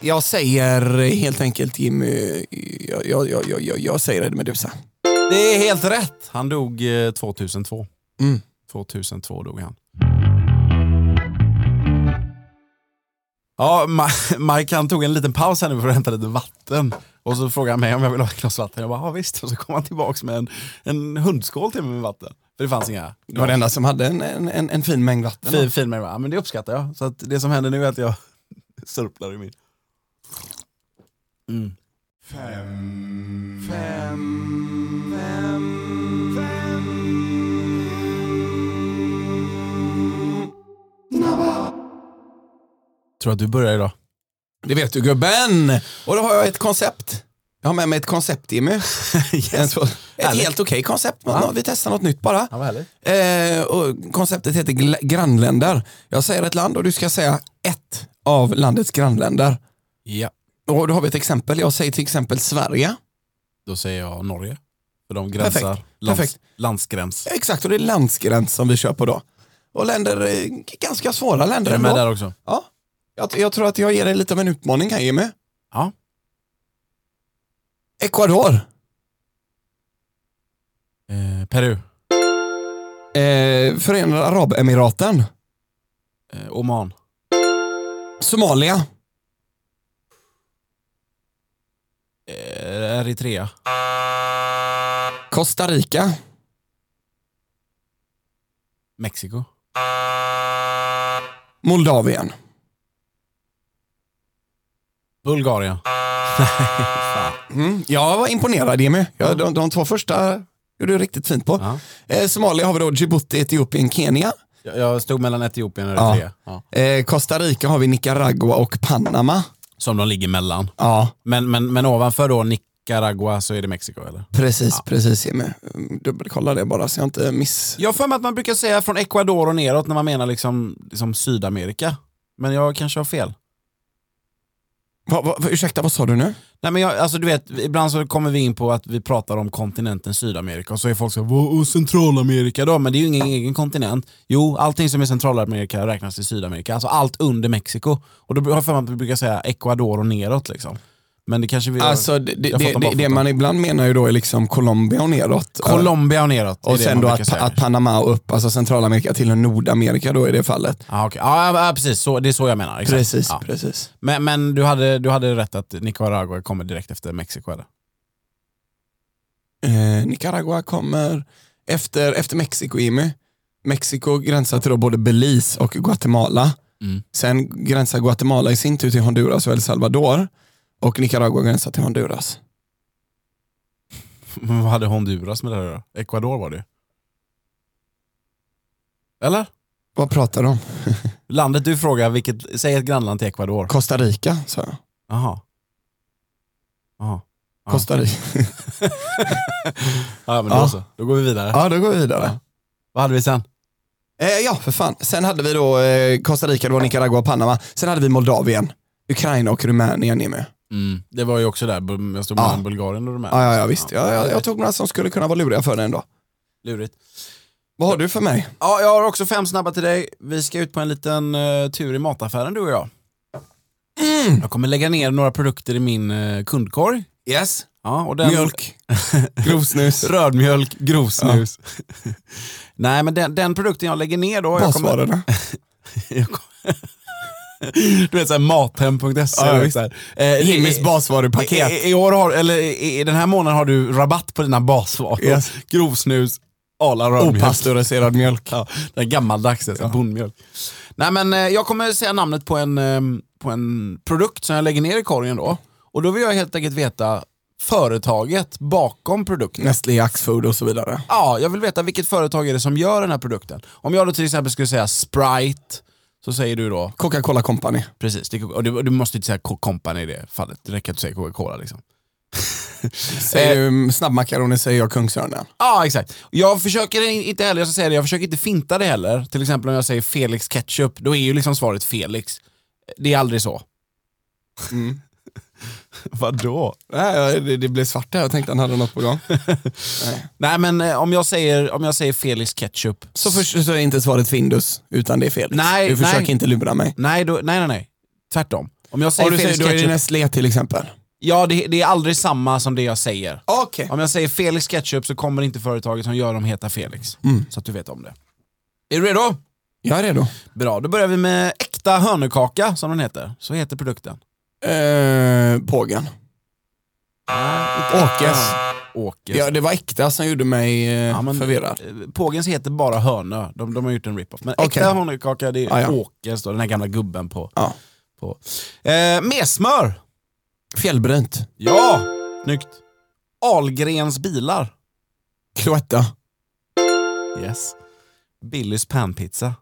Speaker 2: Jag säger helt enkelt Jimmy, jag, jag, jag, jag, jag, jag säger Eddie Meduza.
Speaker 1: Det är helt rätt. Han dog eh, 2002.
Speaker 2: Mm.
Speaker 1: 2002 dog han. Ja, Ma- Mike han tog en liten paus här nu för att hämta lite vatten. Och så frågade han mig om jag ville ha ett glas vatten. Jag bara, ja visst. Och så kom han tillbaks med en, en hundskål till mig med vatten. För det fanns inga.
Speaker 2: Det var den enda som hade en, en, en, en fin mängd vatten.
Speaker 1: Fin, fin med det, va? Ja, men det uppskattar jag. Så att det som händer nu är att jag sörplar i min. Mm. Tror att du börjar idag?
Speaker 2: Det vet du gubben! Och då har jag ett koncept. Jag har med mig ett koncept Jimmy. En så- Ett
Speaker 1: Härligt.
Speaker 2: helt okej koncept. men Vi testar något nytt bara.
Speaker 1: Ja, vad härligt.
Speaker 2: Eh, och konceptet heter gl- grannländer. Jag säger ett land och du ska säga ett av landets grannländer.
Speaker 1: Ja.
Speaker 2: Och då har vi ett exempel. Jag säger till exempel Sverige.
Speaker 1: Då säger jag Norge. För de gränsar.
Speaker 2: Perfekt.
Speaker 1: Lands,
Speaker 2: Perfekt.
Speaker 1: Landsgräns.
Speaker 2: Ja, Exakt, och det är landsgräns som vi kör på då. Och länder, eh, g- ganska svåra länder
Speaker 1: Är du med
Speaker 2: ändå.
Speaker 1: där också?
Speaker 2: Ja. Jag, jag tror att jag ger dig lite av en utmaning här Jimmy.
Speaker 1: Ja.
Speaker 2: Ecuador.
Speaker 1: Eh, Peru.
Speaker 2: Eh, Förenade Arabemiraten.
Speaker 1: Eh, Oman.
Speaker 2: Somalia.
Speaker 1: Eh, Eritrea.
Speaker 2: Costa Rica.
Speaker 1: Mexiko.
Speaker 2: Moldavien.
Speaker 1: Bulgarien.
Speaker 2: Mm, jag var imponerad Jimmy. Ja, de, de två första gjorde du riktigt fint på.
Speaker 1: Ja.
Speaker 2: Eh, Somalia har vi då Djibouti, Etiopien, Kenya.
Speaker 1: Jag, jag stod mellan Etiopien och Eritrea. Ja.
Speaker 2: Eh, Costa Rica har vi Nicaragua och Panama.
Speaker 1: Som de ligger mellan.
Speaker 2: Ja,
Speaker 1: Men, men, men ovanför då Nicaragua så är det Mexiko eller?
Speaker 2: precis, precis Jimmy. Mm, Dubbelkolla det bara så jag inte miss...
Speaker 1: Jag har för mig att man brukar säga från Ecuador och neråt när man menar liksom, liksom Sydamerika. Men jag kanske har fel.
Speaker 2: Va, va, va, ursäkta, vad sa du nu?
Speaker 1: Nej men jag, alltså du vet, ibland så kommer vi in på att vi pratar om kontinenten Sydamerika och så är folk så här, "Vad- och Centralamerika då? Men det är ju ingen egen kontinent. Jo, allting som är Centralamerika räknas till Sydamerika. Alltså allt under Mexiko. Och då har jag för mig att vi brukar säga Ecuador och neråt liksom. Men det kanske vi har-
Speaker 2: Alltså det, det,
Speaker 1: jag fattar bara
Speaker 2: det, det
Speaker 1: foten.
Speaker 2: man ibland menar ju då är liksom Colombia och neråt. Eh,
Speaker 1: Colombia och neråt. är
Speaker 2: och
Speaker 1: det
Speaker 2: sen
Speaker 1: man
Speaker 2: då
Speaker 1: brukar
Speaker 2: att,
Speaker 1: säga.
Speaker 2: att Panama och upp, alltså Centralamerika till Nordamerika då i det fallet.
Speaker 1: Ja, okej. ja, ja, precis. Så, det är så jag menar. Exakt.
Speaker 2: Precis,
Speaker 1: Ja.
Speaker 2: precis.
Speaker 1: Men, men du, hade, du hade rätt att Nicaragua kommer direkt efter Mexiko eller?
Speaker 2: Eh, Nicaragua kommer efter, efter Mexiko, Jimmy. Mexiko gränsar till då både Belize och Guatemala.
Speaker 1: Mm.
Speaker 2: Sen gränsar Guatemala i sin tur till Honduras och El Salvador. Och Nicaragua gränsar till Honduras.
Speaker 1: Men vad hade Honduras med det här att göra? Ecuador var det ju. Eller?
Speaker 2: Vad pratar du om?
Speaker 1: Landet du frågar, vilket, säg ett grannland till Ecuador.
Speaker 2: Costa Rica, sa jag.
Speaker 1: Jaha. Jaha. Ja.
Speaker 2: Costa Rica.
Speaker 1: Ja, men då
Speaker 2: Ja.
Speaker 1: så. Då går vi vidare.
Speaker 2: Ja, då går vi vidare.
Speaker 1: Vad hade vi sen?
Speaker 2: Eh, ja, för fan. Sen hade vi då eh, Costa Rica, det var Nicaragua och Panama. Sen hade vi Moldavien, Ukraina och Rumänien är med.
Speaker 1: Mm, Det var ju också där, Bul- jag stod
Speaker 2: Ja.
Speaker 1: mellan Bulgarien och de här.
Speaker 2: Ja, ja, ja visst. Ja, jag, jag tog några som skulle kunna vara luriga för dig ändå.
Speaker 1: Lurigt.
Speaker 2: Vad har du för mig?
Speaker 1: Ja, jag har också fem snabba till dig. Vi ska ut på en liten eh, tur i mataffären du och jag. Jag kommer lägga ner några produkter i min eh, kundkorg.
Speaker 2: Yes.
Speaker 1: Ja, och den,
Speaker 2: Mjölk, Ehm, grovsnus,
Speaker 1: Rödmjölk, grovsnus. Nej men den, den produkten jag lägger ner då. Jag kommer,
Speaker 2: basvarorna.
Speaker 1: jag kommer, du vet såhär mathem.se.
Speaker 2: Ja,
Speaker 1: du vet,
Speaker 2: visst.
Speaker 1: så här. Eh,
Speaker 2: Jimmys
Speaker 1: i-
Speaker 2: basvarupaket.
Speaker 1: I, i, år har, eller i, i den här månaden har du rabatt på dina basvaror.
Speaker 2: Yes.
Speaker 1: Grovsnus, Arla rödmjölk.
Speaker 2: Opastöriserad mjölk.
Speaker 1: Ja, den är gammaldags, alltså, bondmjölk. Nej men eh, jag kommer säga namnet på en, eh, på en produkt som jag lägger ner i korgen då. Och då vill jag helt enkelt veta företaget bakom produkten.
Speaker 2: Nestlé, Axfood och så vidare.
Speaker 1: Ja, jag vill veta vilket företag är det som gör den här produkten. Om jag då till exempel skulle säga Sprite, så säger du då,
Speaker 2: Coca-Cola Company.
Speaker 1: precis, det, och du, du måste inte säga Coke Company i det fallet, det räcker att du säger Coca-Cola liksom.
Speaker 2: Säger du mm, snabbmakaroner säger jag Kungsörnen.
Speaker 1: Ja, exakt. Jag försöker in- inte heller, jag ska säga det, jag försöker inte finta det heller. Till exempel om jag säger Felix Ketchup, då är ju liksom svaret Felix. Det är aldrig så.
Speaker 2: Mm.
Speaker 1: Vadå?
Speaker 2: Nej, det, det blev svart där, jag tänkte han hade något på gång. Nej.
Speaker 1: Nej men eh, om jag säger, om jag säger Felix Ketchup,
Speaker 2: Så, för, så är inte svaret Findus, utan det är Felix.
Speaker 1: Nej,
Speaker 2: du försöker
Speaker 1: nej.
Speaker 2: inte lura mig.
Speaker 1: nej, då, nej, nej, nej. Tvärtom. Om jag säger
Speaker 2: Om du
Speaker 1: Felix
Speaker 2: säger, då är det
Speaker 1: Ketchup,
Speaker 2: Nestlé till exempel.
Speaker 1: ja det, det är aldrig samma som det jag säger.
Speaker 2: Okej.
Speaker 1: Om jag säger Felix Ketchup så kommer inte företaget som gör dem heta Felix.
Speaker 2: Mm.
Speaker 1: Så att du vet om det. Är du redo?
Speaker 2: Jag är redo.
Speaker 1: Bra, då börjar vi med äkta hönökaka som den heter. Så heter produkten.
Speaker 2: Eh, pågen. Åkes.
Speaker 1: Åkes.
Speaker 2: Ah. Ja, det var äkta som gjorde mig eh,
Speaker 1: Ja, men-
Speaker 2: förvirrad.
Speaker 1: Eh, Pågens heter bara hönö. De, de har gjort en rip-off. Men
Speaker 2: Okej.
Speaker 1: äkta hönökaka det är
Speaker 2: Ah, ja.
Speaker 1: Åkes då, den här gamla gubben på...
Speaker 2: Ja.
Speaker 1: på. Eh, mesmör!
Speaker 2: Fjällbrynt.
Speaker 1: Ja! Snyggt. Ahlgrens bilar.
Speaker 2: Cloetta.
Speaker 1: Yes. Billys panpizza.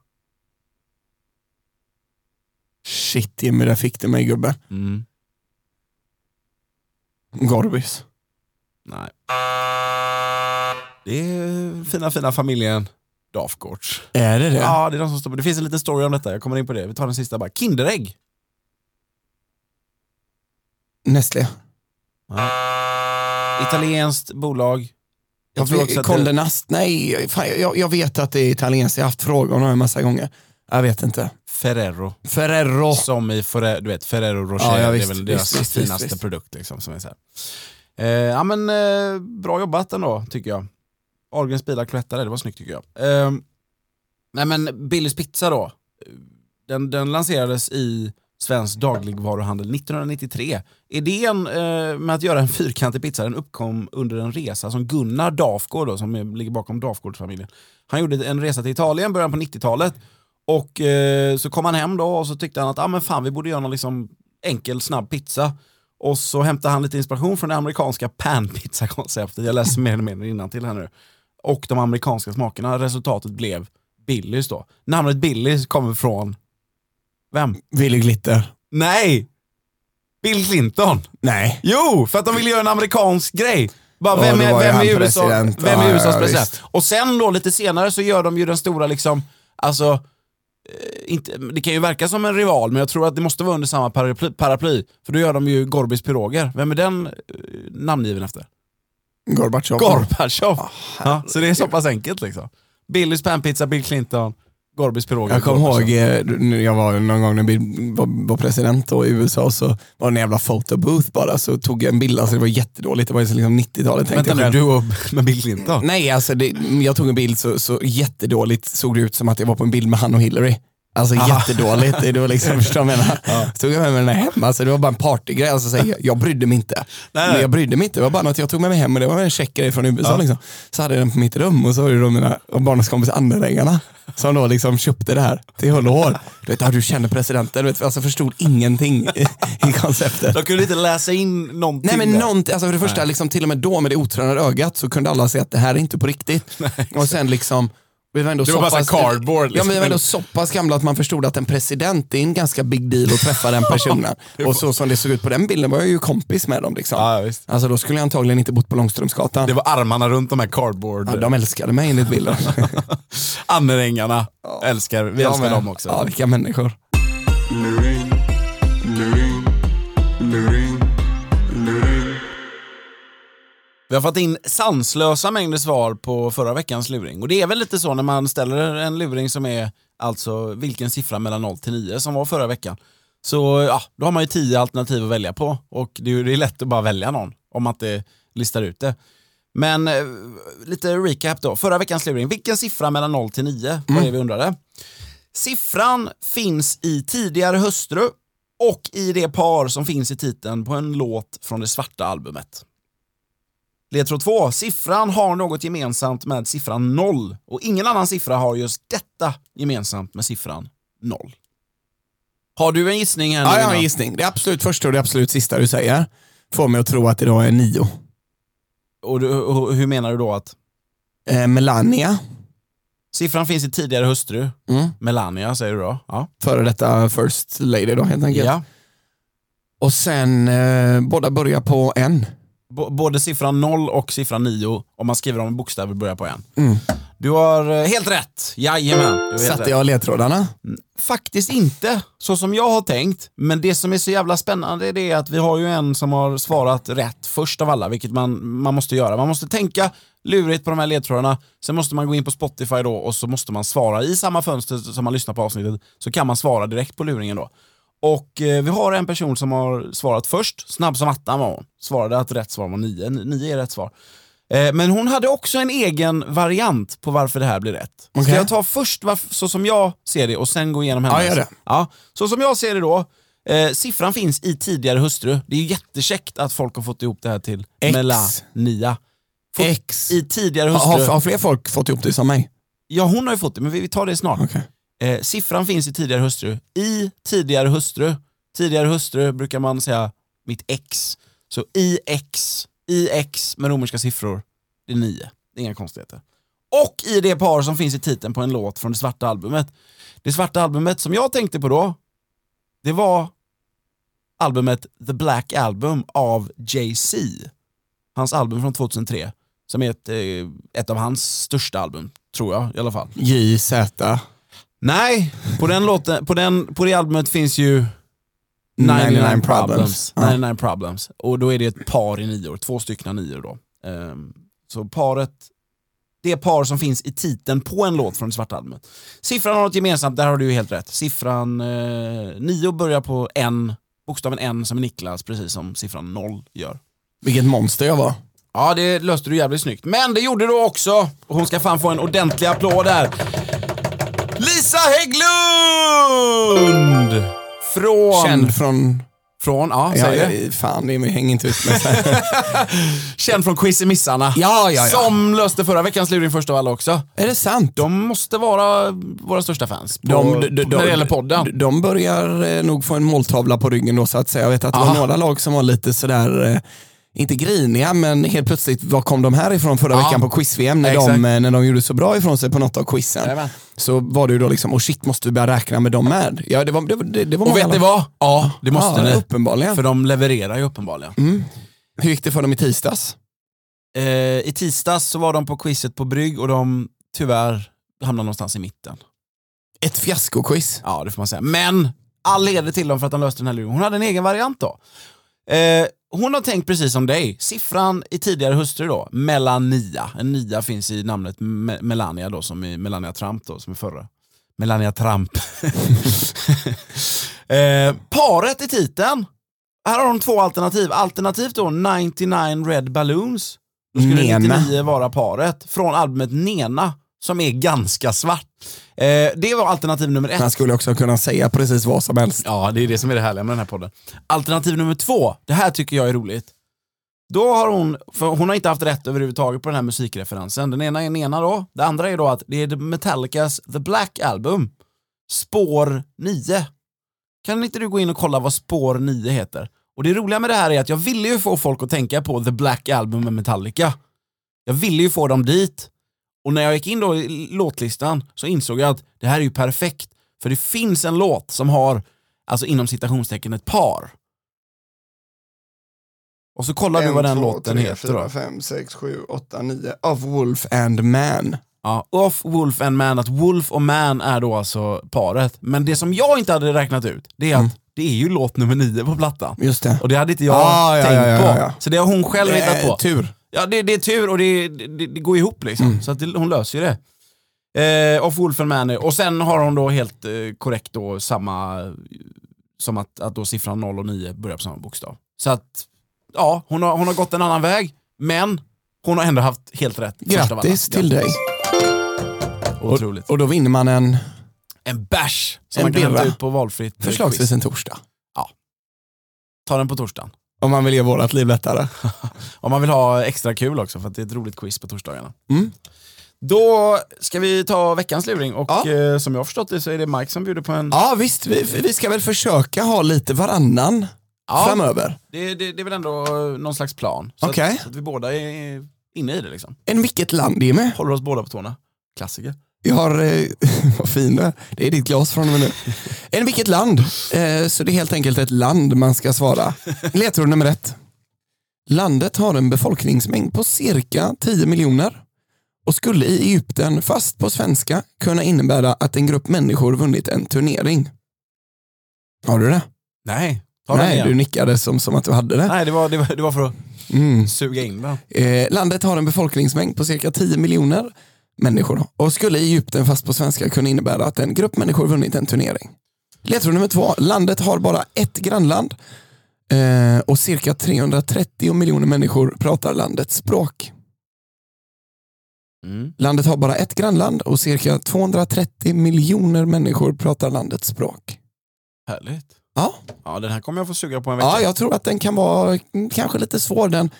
Speaker 2: Shit Jimmy, där fick du mig gubbe.
Speaker 1: Mm.
Speaker 2: Gorbis.
Speaker 1: Nej. Det är fina, fina familjen Dafgårds.
Speaker 2: Är det det? Ja.
Speaker 1: Ja, det är de som står på. Det finns en liten story om detta, jag kommer in på det. Vi tar den sista bara. Kinderägg.
Speaker 2: Nestlé.
Speaker 1: Italienskt bolag.
Speaker 2: Jag
Speaker 1: tror också att det-
Speaker 2: Conde Nast, nej, fan, jag, jag vet att det är italienskt, jag har haft frågor om det en massa gånger. Jag vet inte.
Speaker 1: Ferrero.
Speaker 2: Ferrero.
Speaker 1: Som i Ferre, du vet, Ferrero Rocher,
Speaker 2: Ja, ja,
Speaker 1: det är
Speaker 2: visst,
Speaker 1: väl
Speaker 2: visst,
Speaker 1: deras
Speaker 2: visst,
Speaker 1: finaste
Speaker 2: visst, visst.
Speaker 1: produkt. Liksom, som är så här. Eh, ja, men, eh, bra jobbat ändå, tycker jag. Ahlgrens bilar klättrade, det var snyggt tycker jag. Eh, nej men Billys pizza då, eh, den, den lanserades i Svensk dagligvaruhandel 1993. Idén eh, med att göra en fyrkantig pizza den uppkom under en resa som Gunnar Dafgård, då, som är, ligger bakom Dafgårdsfamiljen, han gjorde en resa till Italien i början på 90-talet och eh, så kom han hem då och så tyckte han att ah, men fan, vi borde göra någon liksom enkel snabb pizza. Och så hämtade han lite inspiration från det amerikanska panpizza-konceptet. Jag läser mer eller mindre innantill här nu. Och de amerikanska smakerna. Resultatet blev Billys då. Namnet Billys kommer från vem?
Speaker 2: Willy Glitter.
Speaker 1: Nej! Bill Clinton!
Speaker 2: Nej.
Speaker 1: Jo, för att de ville göra en amerikansk grej. Bara,
Speaker 2: Ja,
Speaker 1: vem
Speaker 2: då
Speaker 1: är,
Speaker 2: var ju
Speaker 1: vem är,
Speaker 2: han
Speaker 1: USA,
Speaker 2: president.
Speaker 1: vem är
Speaker 2: Ja,
Speaker 1: USAs
Speaker 2: ja,
Speaker 1: president?
Speaker 2: visst.
Speaker 1: Och sen då lite senare så gör de ju den stora liksom, alltså, eh, inte, det kan ju verka som en rival men jag tror att det måste vara under samma paraply, paraply för då gör de ju Gorbis piroger. Vem är den eh, namngiven efter?
Speaker 2: Gorbatjov.
Speaker 1: Gorbatjov!
Speaker 2: Ah,
Speaker 1: ja, så det är så pass enkelt liksom. Billys panpizza, Bill Clinton, Gorbis piroger.
Speaker 2: Jag kommer
Speaker 1: Gorbatjov.
Speaker 2: ihåg, eh, när jag var någon gång när Bill var- var president då i USA så var det en jävla photobooth bara så tog jag en bild, alltså det var jättedåligt, det var ju så liksom 90-talet. tänkte
Speaker 1: Vänta
Speaker 2: jag
Speaker 1: nu,
Speaker 2: själv.
Speaker 1: du och med Bill Clinton?
Speaker 2: Nej, alltså det, jag tog en bild så, så jättedåligt såg det ut som att jag var på en bild med han och Hillary. Alltså jättedåligt, det var liksom, förstår du vad jag menar? Tog jag med mig den här hem, alltså det var bara en partygrej, alltså, så här, jag, jag brydde mig inte.
Speaker 1: Nej, nej.
Speaker 2: Men jag brydde mig inte, det var bara något jag tog med mig hem och det var en check grej från USA liksom. Så hade jag den på mitt rum och så var det då mina och barnens kompis anhängarna som då liksom köpte det här till hull och hår. Du vet, ah, du känner presidenten, du vet, alltså förstod ingenting i, i konceptet.
Speaker 1: De kunde inte läsa in någonting
Speaker 2: Nej men
Speaker 1: där.
Speaker 2: någonting, alltså för det första, liksom, till och med då med det otränade ögat så kunde alla se att det här är inte på riktigt. och sen liksom, vi var ändå
Speaker 1: Det
Speaker 2: så
Speaker 1: var bara
Speaker 2: pass-
Speaker 1: så här cardboard,
Speaker 2: Ja men vi
Speaker 1: liksom.
Speaker 2: var ändå så pass gamla att man förstod att en president, det är en ganska big deal att träffa den personen. och så som det såg ut på den bilden var jag ju kompis med dem liksom.
Speaker 1: Ja, ja, visst.
Speaker 2: Alltså då skulle jag antagligen inte bott på Långströmsgatan.
Speaker 1: Det var armarna runt de här cardboard...
Speaker 2: Ja, de älskade mig enligt bilden.
Speaker 1: Annerängarna älskar, vi
Speaker 2: Ja,
Speaker 1: älskar
Speaker 2: men-
Speaker 1: dem också.
Speaker 2: Ja, vilka människor.
Speaker 1: Vi har fått in sanslösa mängder svar på förra veckans luring. Och det är väl lite så när man ställer en luring som är alltså vilken siffra mellan 0 till 9 som var förra veckan. Så ja, då har man ju 10 alternativ att välja på och det är, ju- det är lätt att bara välja någon om man inte listar ut det. Men eh, lite recap då. Förra veckans luring, vilken siffra mellan 0 till 9 var
Speaker 2: Mm.
Speaker 1: det vi undrade. Siffran finns i tidigare hustru och i det par som finns i titeln på en låt från det svarta albumet. Ledtråd 2. Siffran har något gemensamt med siffran 0 och ingen annan siffra har just detta gemensamt med siffran 0. Har du en gissning här nu
Speaker 2: Ja, jag har en
Speaker 1: innan?
Speaker 2: gissning. Det absolut första och det absolut sista du säger får mig att tro att det då är nio.
Speaker 1: och, du, och hur menar du då att
Speaker 2: Eh, Melania,
Speaker 1: siffran finns i tidigare hustru,
Speaker 2: Mm.
Speaker 1: Melania säger du då? Ja.
Speaker 2: före detta first lady då helt enkelt.
Speaker 1: ja.
Speaker 2: Och sen eh, båda börjar på en.
Speaker 1: B- både siffran 0 och siffran 9 om man skriver om bokstäver börjar på en. Du har eh, helt rätt, jajamän. Du har helt
Speaker 2: Mm. Satte
Speaker 1: rätt.
Speaker 2: jag ledtrådarna?
Speaker 1: Faktiskt inte, så som jag har tänkt. Men det som är så jävla spännande är det att vi har ju en som har svarat rätt först av alla, vilket man, man måste göra. Man måste tänka lurigt på de här ledtrådarna, sen måste man gå in på Spotify då och så måste man svara i samma fönster som man lyssnar på avsnittet, så kan man svara direkt på luringen då. Och eh, vi har en person som har svarat först, snabb som attan var hon. Svarade att rätt svar var nio, N- nio är rätt svar. Eh, men hon hade också en egen variant på varför det här blir rätt. Ska
Speaker 2: Okej.
Speaker 1: jag ta först varf- så som jag ser det och sen gå igenom hennes?
Speaker 2: Ja, gör det.
Speaker 1: Ja, så som jag ser det då, eh, siffran finns i tidigare hustru. Det är ju jättekäckt att folk har fått ihop det här till
Speaker 2: Ex.
Speaker 1: Melania. Fått
Speaker 2: X.
Speaker 1: I tidigare
Speaker 2: Har, har,
Speaker 1: hustru.
Speaker 2: har fler folk fått ihop det som mig?
Speaker 1: Ja, hon har ju fått det, men vi, vi tar det snart.
Speaker 2: Okej.
Speaker 1: Eh, siffran finns i tidigare hustru. I tidigare hustru. Tidigare hustru brukar man säga mitt ex. Så i x, i x med romerska siffror, det är nio. Det är inga konstigheter. Och i det par som finns i titeln på en låt från det svarta albumet. Det svarta albumet som jag tänkte på då, det var albumet The Black Album av Jay-Z. Hans album från 2003, som är ett, eh, ett av hans största album, tror jag i alla fall.
Speaker 2: JZ.
Speaker 1: Nej, på, den låten, på, den, på det albumet finns ju 99,
Speaker 2: 99
Speaker 1: problems.
Speaker 2: problems. Ja.
Speaker 1: 99 problems. Och då är det ett par i nior, två stycken nior då. Ehm, så paret, det par som finns i titeln på en låt från det svarta albumet. Siffran har något gemensamt, där har du ju helt rätt. Siffran eh, nio börjar på en, bokstaven n som är Niklas, precis som siffran noll gör.
Speaker 2: Vilket monster jag var.
Speaker 1: Ja, det löste du jävligt snyggt. Men det gjorde du också. Och hon ska fan få en ordentlig applåd där. Lisa Hägglund! Från...
Speaker 2: Känd från...
Speaker 1: Från, ja,
Speaker 2: Ja,
Speaker 1: säg det.
Speaker 2: ja, fan, det är mig, häng inte ut med så här.
Speaker 1: Känd från Quizemissarna.
Speaker 2: Ja, ja, ja.
Speaker 1: Som löste förra veckans luring först av alla också.
Speaker 2: Är det sant?
Speaker 1: De måste vara våra största fans på, när det gäller podden.
Speaker 2: De, de börjar eh, nog få en måltavla på ryggen då så att säga. Jag vet att det
Speaker 1: Aha.
Speaker 2: var några lag som var lite sådär, eh, inte griniga, men helt plötsligt, var kom de här ifrån förra
Speaker 1: Ja.
Speaker 2: veckan på quiz-VM när
Speaker 1: Ah. Exakt.
Speaker 2: de, eh, när de gjorde så bra ifrån sig på något av quizen?
Speaker 1: Jajamän.
Speaker 2: Så var det ju då liksom, oh shit, måste vi börja räkna med dem med? Ja, det var, det, var- det, det var
Speaker 1: Och vet
Speaker 2: många-
Speaker 1: ni vad? Ja, det måste
Speaker 2: ja, Mm.
Speaker 1: ni.
Speaker 2: Uppenbarligen.
Speaker 1: För de levererar ju uppenbarligen.
Speaker 2: Hur gick det för dem i tisdags?
Speaker 1: Eh, I tisdags så var de på quizet på Brygg och de tyvärr hamnade någonstans i mitten.
Speaker 2: Ett fiaskoquiz.
Speaker 1: Ja, det får man säga. Men all heder till dem för att de löste den här luren. Hon hade en egen variant då. Eh, hon har tänkt precis som dig. Siffran i tidigare hustru då, Melania. En nia finns i namnet Me- Melania då, som i Melania Trump då, som är förra. Melania Trump. eh, paret i titeln. Här har de två alternativ. Alternativ då 99 Red Balloons. Då skulle
Speaker 2: Nena.
Speaker 1: 99 vara paret. Från albumet Nena, som är ganska svart. Eh, det var alternativ nummer ett.
Speaker 2: Man skulle också kunna säga precis vad som helst.
Speaker 1: Ja, det är det som är det härliga med den här podden. Alternativ nummer två, det här tycker jag är roligt. Då har hon, för hon har inte haft rätt överhuvudtaget på den här musikreferensen. Den ena är Nena då, det andra är då att det är Metallicas The Black Album, spår 9. Kan inte du gå in och kolla vad spår 9 heter? Och det roliga med det här är att jag ville ju få folk att tänka på The Black Album med Metallica. Jag ville ju få dem dit. Och när jag gick in då i låtlistan så insåg jag att det här är ju perfekt. För det finns en låt som har, alltså inom citationstecken, ett par. Och så kollar du vad den låten heter då.
Speaker 2: 5, 6, 7, 8, 9. Of Wolf and Man.
Speaker 1: Ja, off, wolf and man, att wolf och man är då alltså paret. Men det som jag inte hade räknat ut, det är att det är ju låt nummer nio på plattan.
Speaker 2: Just det.
Speaker 1: Och det hade inte jag
Speaker 2: Ah, ja,
Speaker 1: tänkt
Speaker 2: ja, ja,
Speaker 1: på.
Speaker 2: ja, ja.
Speaker 1: Så det har hon själv hittat
Speaker 2: Eh,
Speaker 1: på.
Speaker 2: Tur. Mm.
Speaker 1: Ja, det, det är tur och det, det, det går ihop liksom. Så att det, hon löser ju det. Eh, och Wolfen Manor. Och sen har hon då helt eh, korrekt då samma, eh, som att, att då siffran 0 och 9 börjar på samma bokstav. Så att, ja, hon har, hon har gått en annan väg, men hon har ändå haft helt rätt. först av alla.
Speaker 2: Grattis till dig.
Speaker 1: Otroligt.
Speaker 2: Och då vinner man en,
Speaker 1: en bärs som
Speaker 2: En
Speaker 1: man kan
Speaker 2: birra.
Speaker 1: hämta ut på valfritt eh,
Speaker 2: förslagsvis
Speaker 1: quiz.
Speaker 2: en torsdag.
Speaker 1: Ta den på torsdagen.
Speaker 2: Om man vill ge vårat liv lättare.
Speaker 1: Om man vill ha extra kul också, för att det är ett roligt quiz på torsdagarna.
Speaker 2: Mm.
Speaker 1: Då ska vi ta veckans luring och
Speaker 2: Ja.
Speaker 1: eh, som jag har förstått det så är det Mike som bjuder på en...
Speaker 2: Ja visst, vi, vi ska väl försöka ha lite varannan
Speaker 1: Ja.
Speaker 2: framöver.
Speaker 1: Det, det, det är väl ändå eh, någon slags plan. Så,
Speaker 2: Okej.
Speaker 1: att, så att vi båda är inne i det liksom.
Speaker 2: En vilket land Jimmy?
Speaker 1: Håller oss båda på tårna. Klassiker.
Speaker 2: Jag har, eh, vad fin du är. Det är ditt glas från och med nu. En vilket land? Eh, så det är helt enkelt ett land man ska svara. Ledtråd nummer ett. Landet har en befolkningsmängd på cirka 10 miljoner och skulle i Egypten, fast på svenska, kunna innebära att en grupp människor vunnit en turnering. Har du det?
Speaker 1: Nej, ta den
Speaker 2: Nej,
Speaker 1: igen.
Speaker 2: du nickade som, som att du hade det.
Speaker 1: Nej, det var, det, var, det var för att
Speaker 2: Mm.
Speaker 1: suga in den.
Speaker 2: Eh, landet har en befolkningsmängd på cirka 10 miljoner människor och skulle i Egypten, fast på svenska, kunna innebära att en grupp människor vunnit en turnering. Ledtråd nummer två. Landet har bara ett grannland eh, och cirka 330 miljoner människor pratar landets språk.
Speaker 1: Mm.
Speaker 2: Landet har bara ett grannland och cirka 230 miljoner människor pratar landets språk.
Speaker 1: Härligt.
Speaker 2: Ja,
Speaker 1: Ja, den här kommer jag få suga på en vecka.
Speaker 2: ja jag tror att den kan vara mm, kanske lite svår. Den,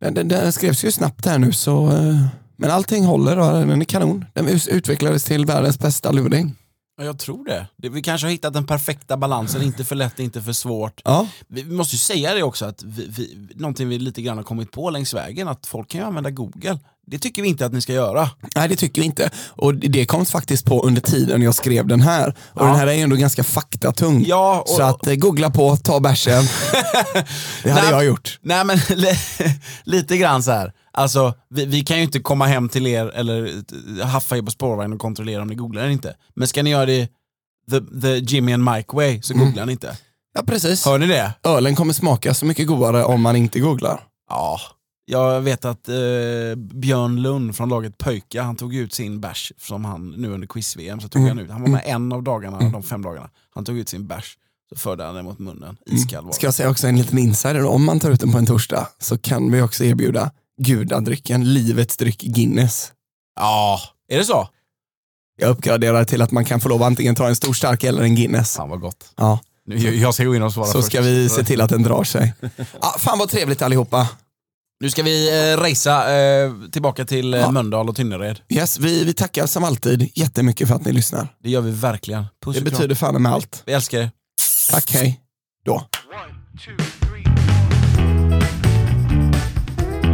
Speaker 2: den, den, den skrevs ju snabbt här nu så eh, men allting håller och den är kanon. Den us- utvecklades till världens bästa luring.
Speaker 1: Ja, jag tror det. det. Vi kanske har hittat den perfekta balansen, inte för lätt, inte för svårt.
Speaker 2: Ja.
Speaker 1: Vi vi måste ju säga det också, att vi, vi, någonting vi lite grann har kommit på längs vägen, att folk kan ju använda Google. Det tycker vi inte att ni ska göra.
Speaker 2: Nej det tycker vi inte. Och det- det kom faktiskt på under tiden jag skrev den här. Och den här är ju ändå ganska faktatung.
Speaker 1: Ja, och-
Speaker 2: Så att eh, googla på, ta bärsen. det hade
Speaker 1: Nej.
Speaker 2: jag gjort.
Speaker 1: Nej men li- lite grann så här. Alltså, vi, vi kan ju inte komma hem till er eller eh, haffa er på spårvagn och kontrollera om ni googlar eller inte. Men ska ni göra det the, the Jimmy and Mike way så
Speaker 2: Mm.
Speaker 1: googlar ni inte.
Speaker 2: Ja precis.
Speaker 1: Hör ni det?
Speaker 2: Ölen kommer smaka så mycket godare om man inte googlar.
Speaker 1: Ja. Jag vet att eh, Björn Lund från laget Pöjka, han tog ut sin bärs som han nu under quiz-VM, så tog
Speaker 2: Mm.
Speaker 1: han ut, han var med en av dagarna, de fem dagarna, han tog ut sin bärs, så förde han den mot munnen, iskall var
Speaker 2: Mm. Ska jag säga också en liten insider då? Om man tar ut den på en torsdag så kan vi också erbjuda gudadrycken, livets dryck Guinness.
Speaker 1: Ja, är det så?
Speaker 2: Jag uppgraderar till att man kan få lov att antingen ta en stor stark eller en Guinness.
Speaker 1: Fan vad gott.
Speaker 2: Ja,
Speaker 1: Nu, jag- jag ska gå in och svara
Speaker 2: så
Speaker 1: först.
Speaker 2: ska vi se till att den drar sig. Ja, fan vad trevligt allihopa.
Speaker 1: Nu ska vi eh, racea eh, tillbaka till eh,
Speaker 2: Ja.
Speaker 1: Mölndal och Tynnered.
Speaker 2: Yes, vi, vi tackar som alltid jättemycket för att ni lyssnar.
Speaker 1: Det gör vi verkligen. Puss
Speaker 2: Det
Speaker 1: och kram.
Speaker 2: betyder fan med allt.
Speaker 1: Vi älskar er.
Speaker 2: Tack, hej. Då.
Speaker 3: One, two, three, four.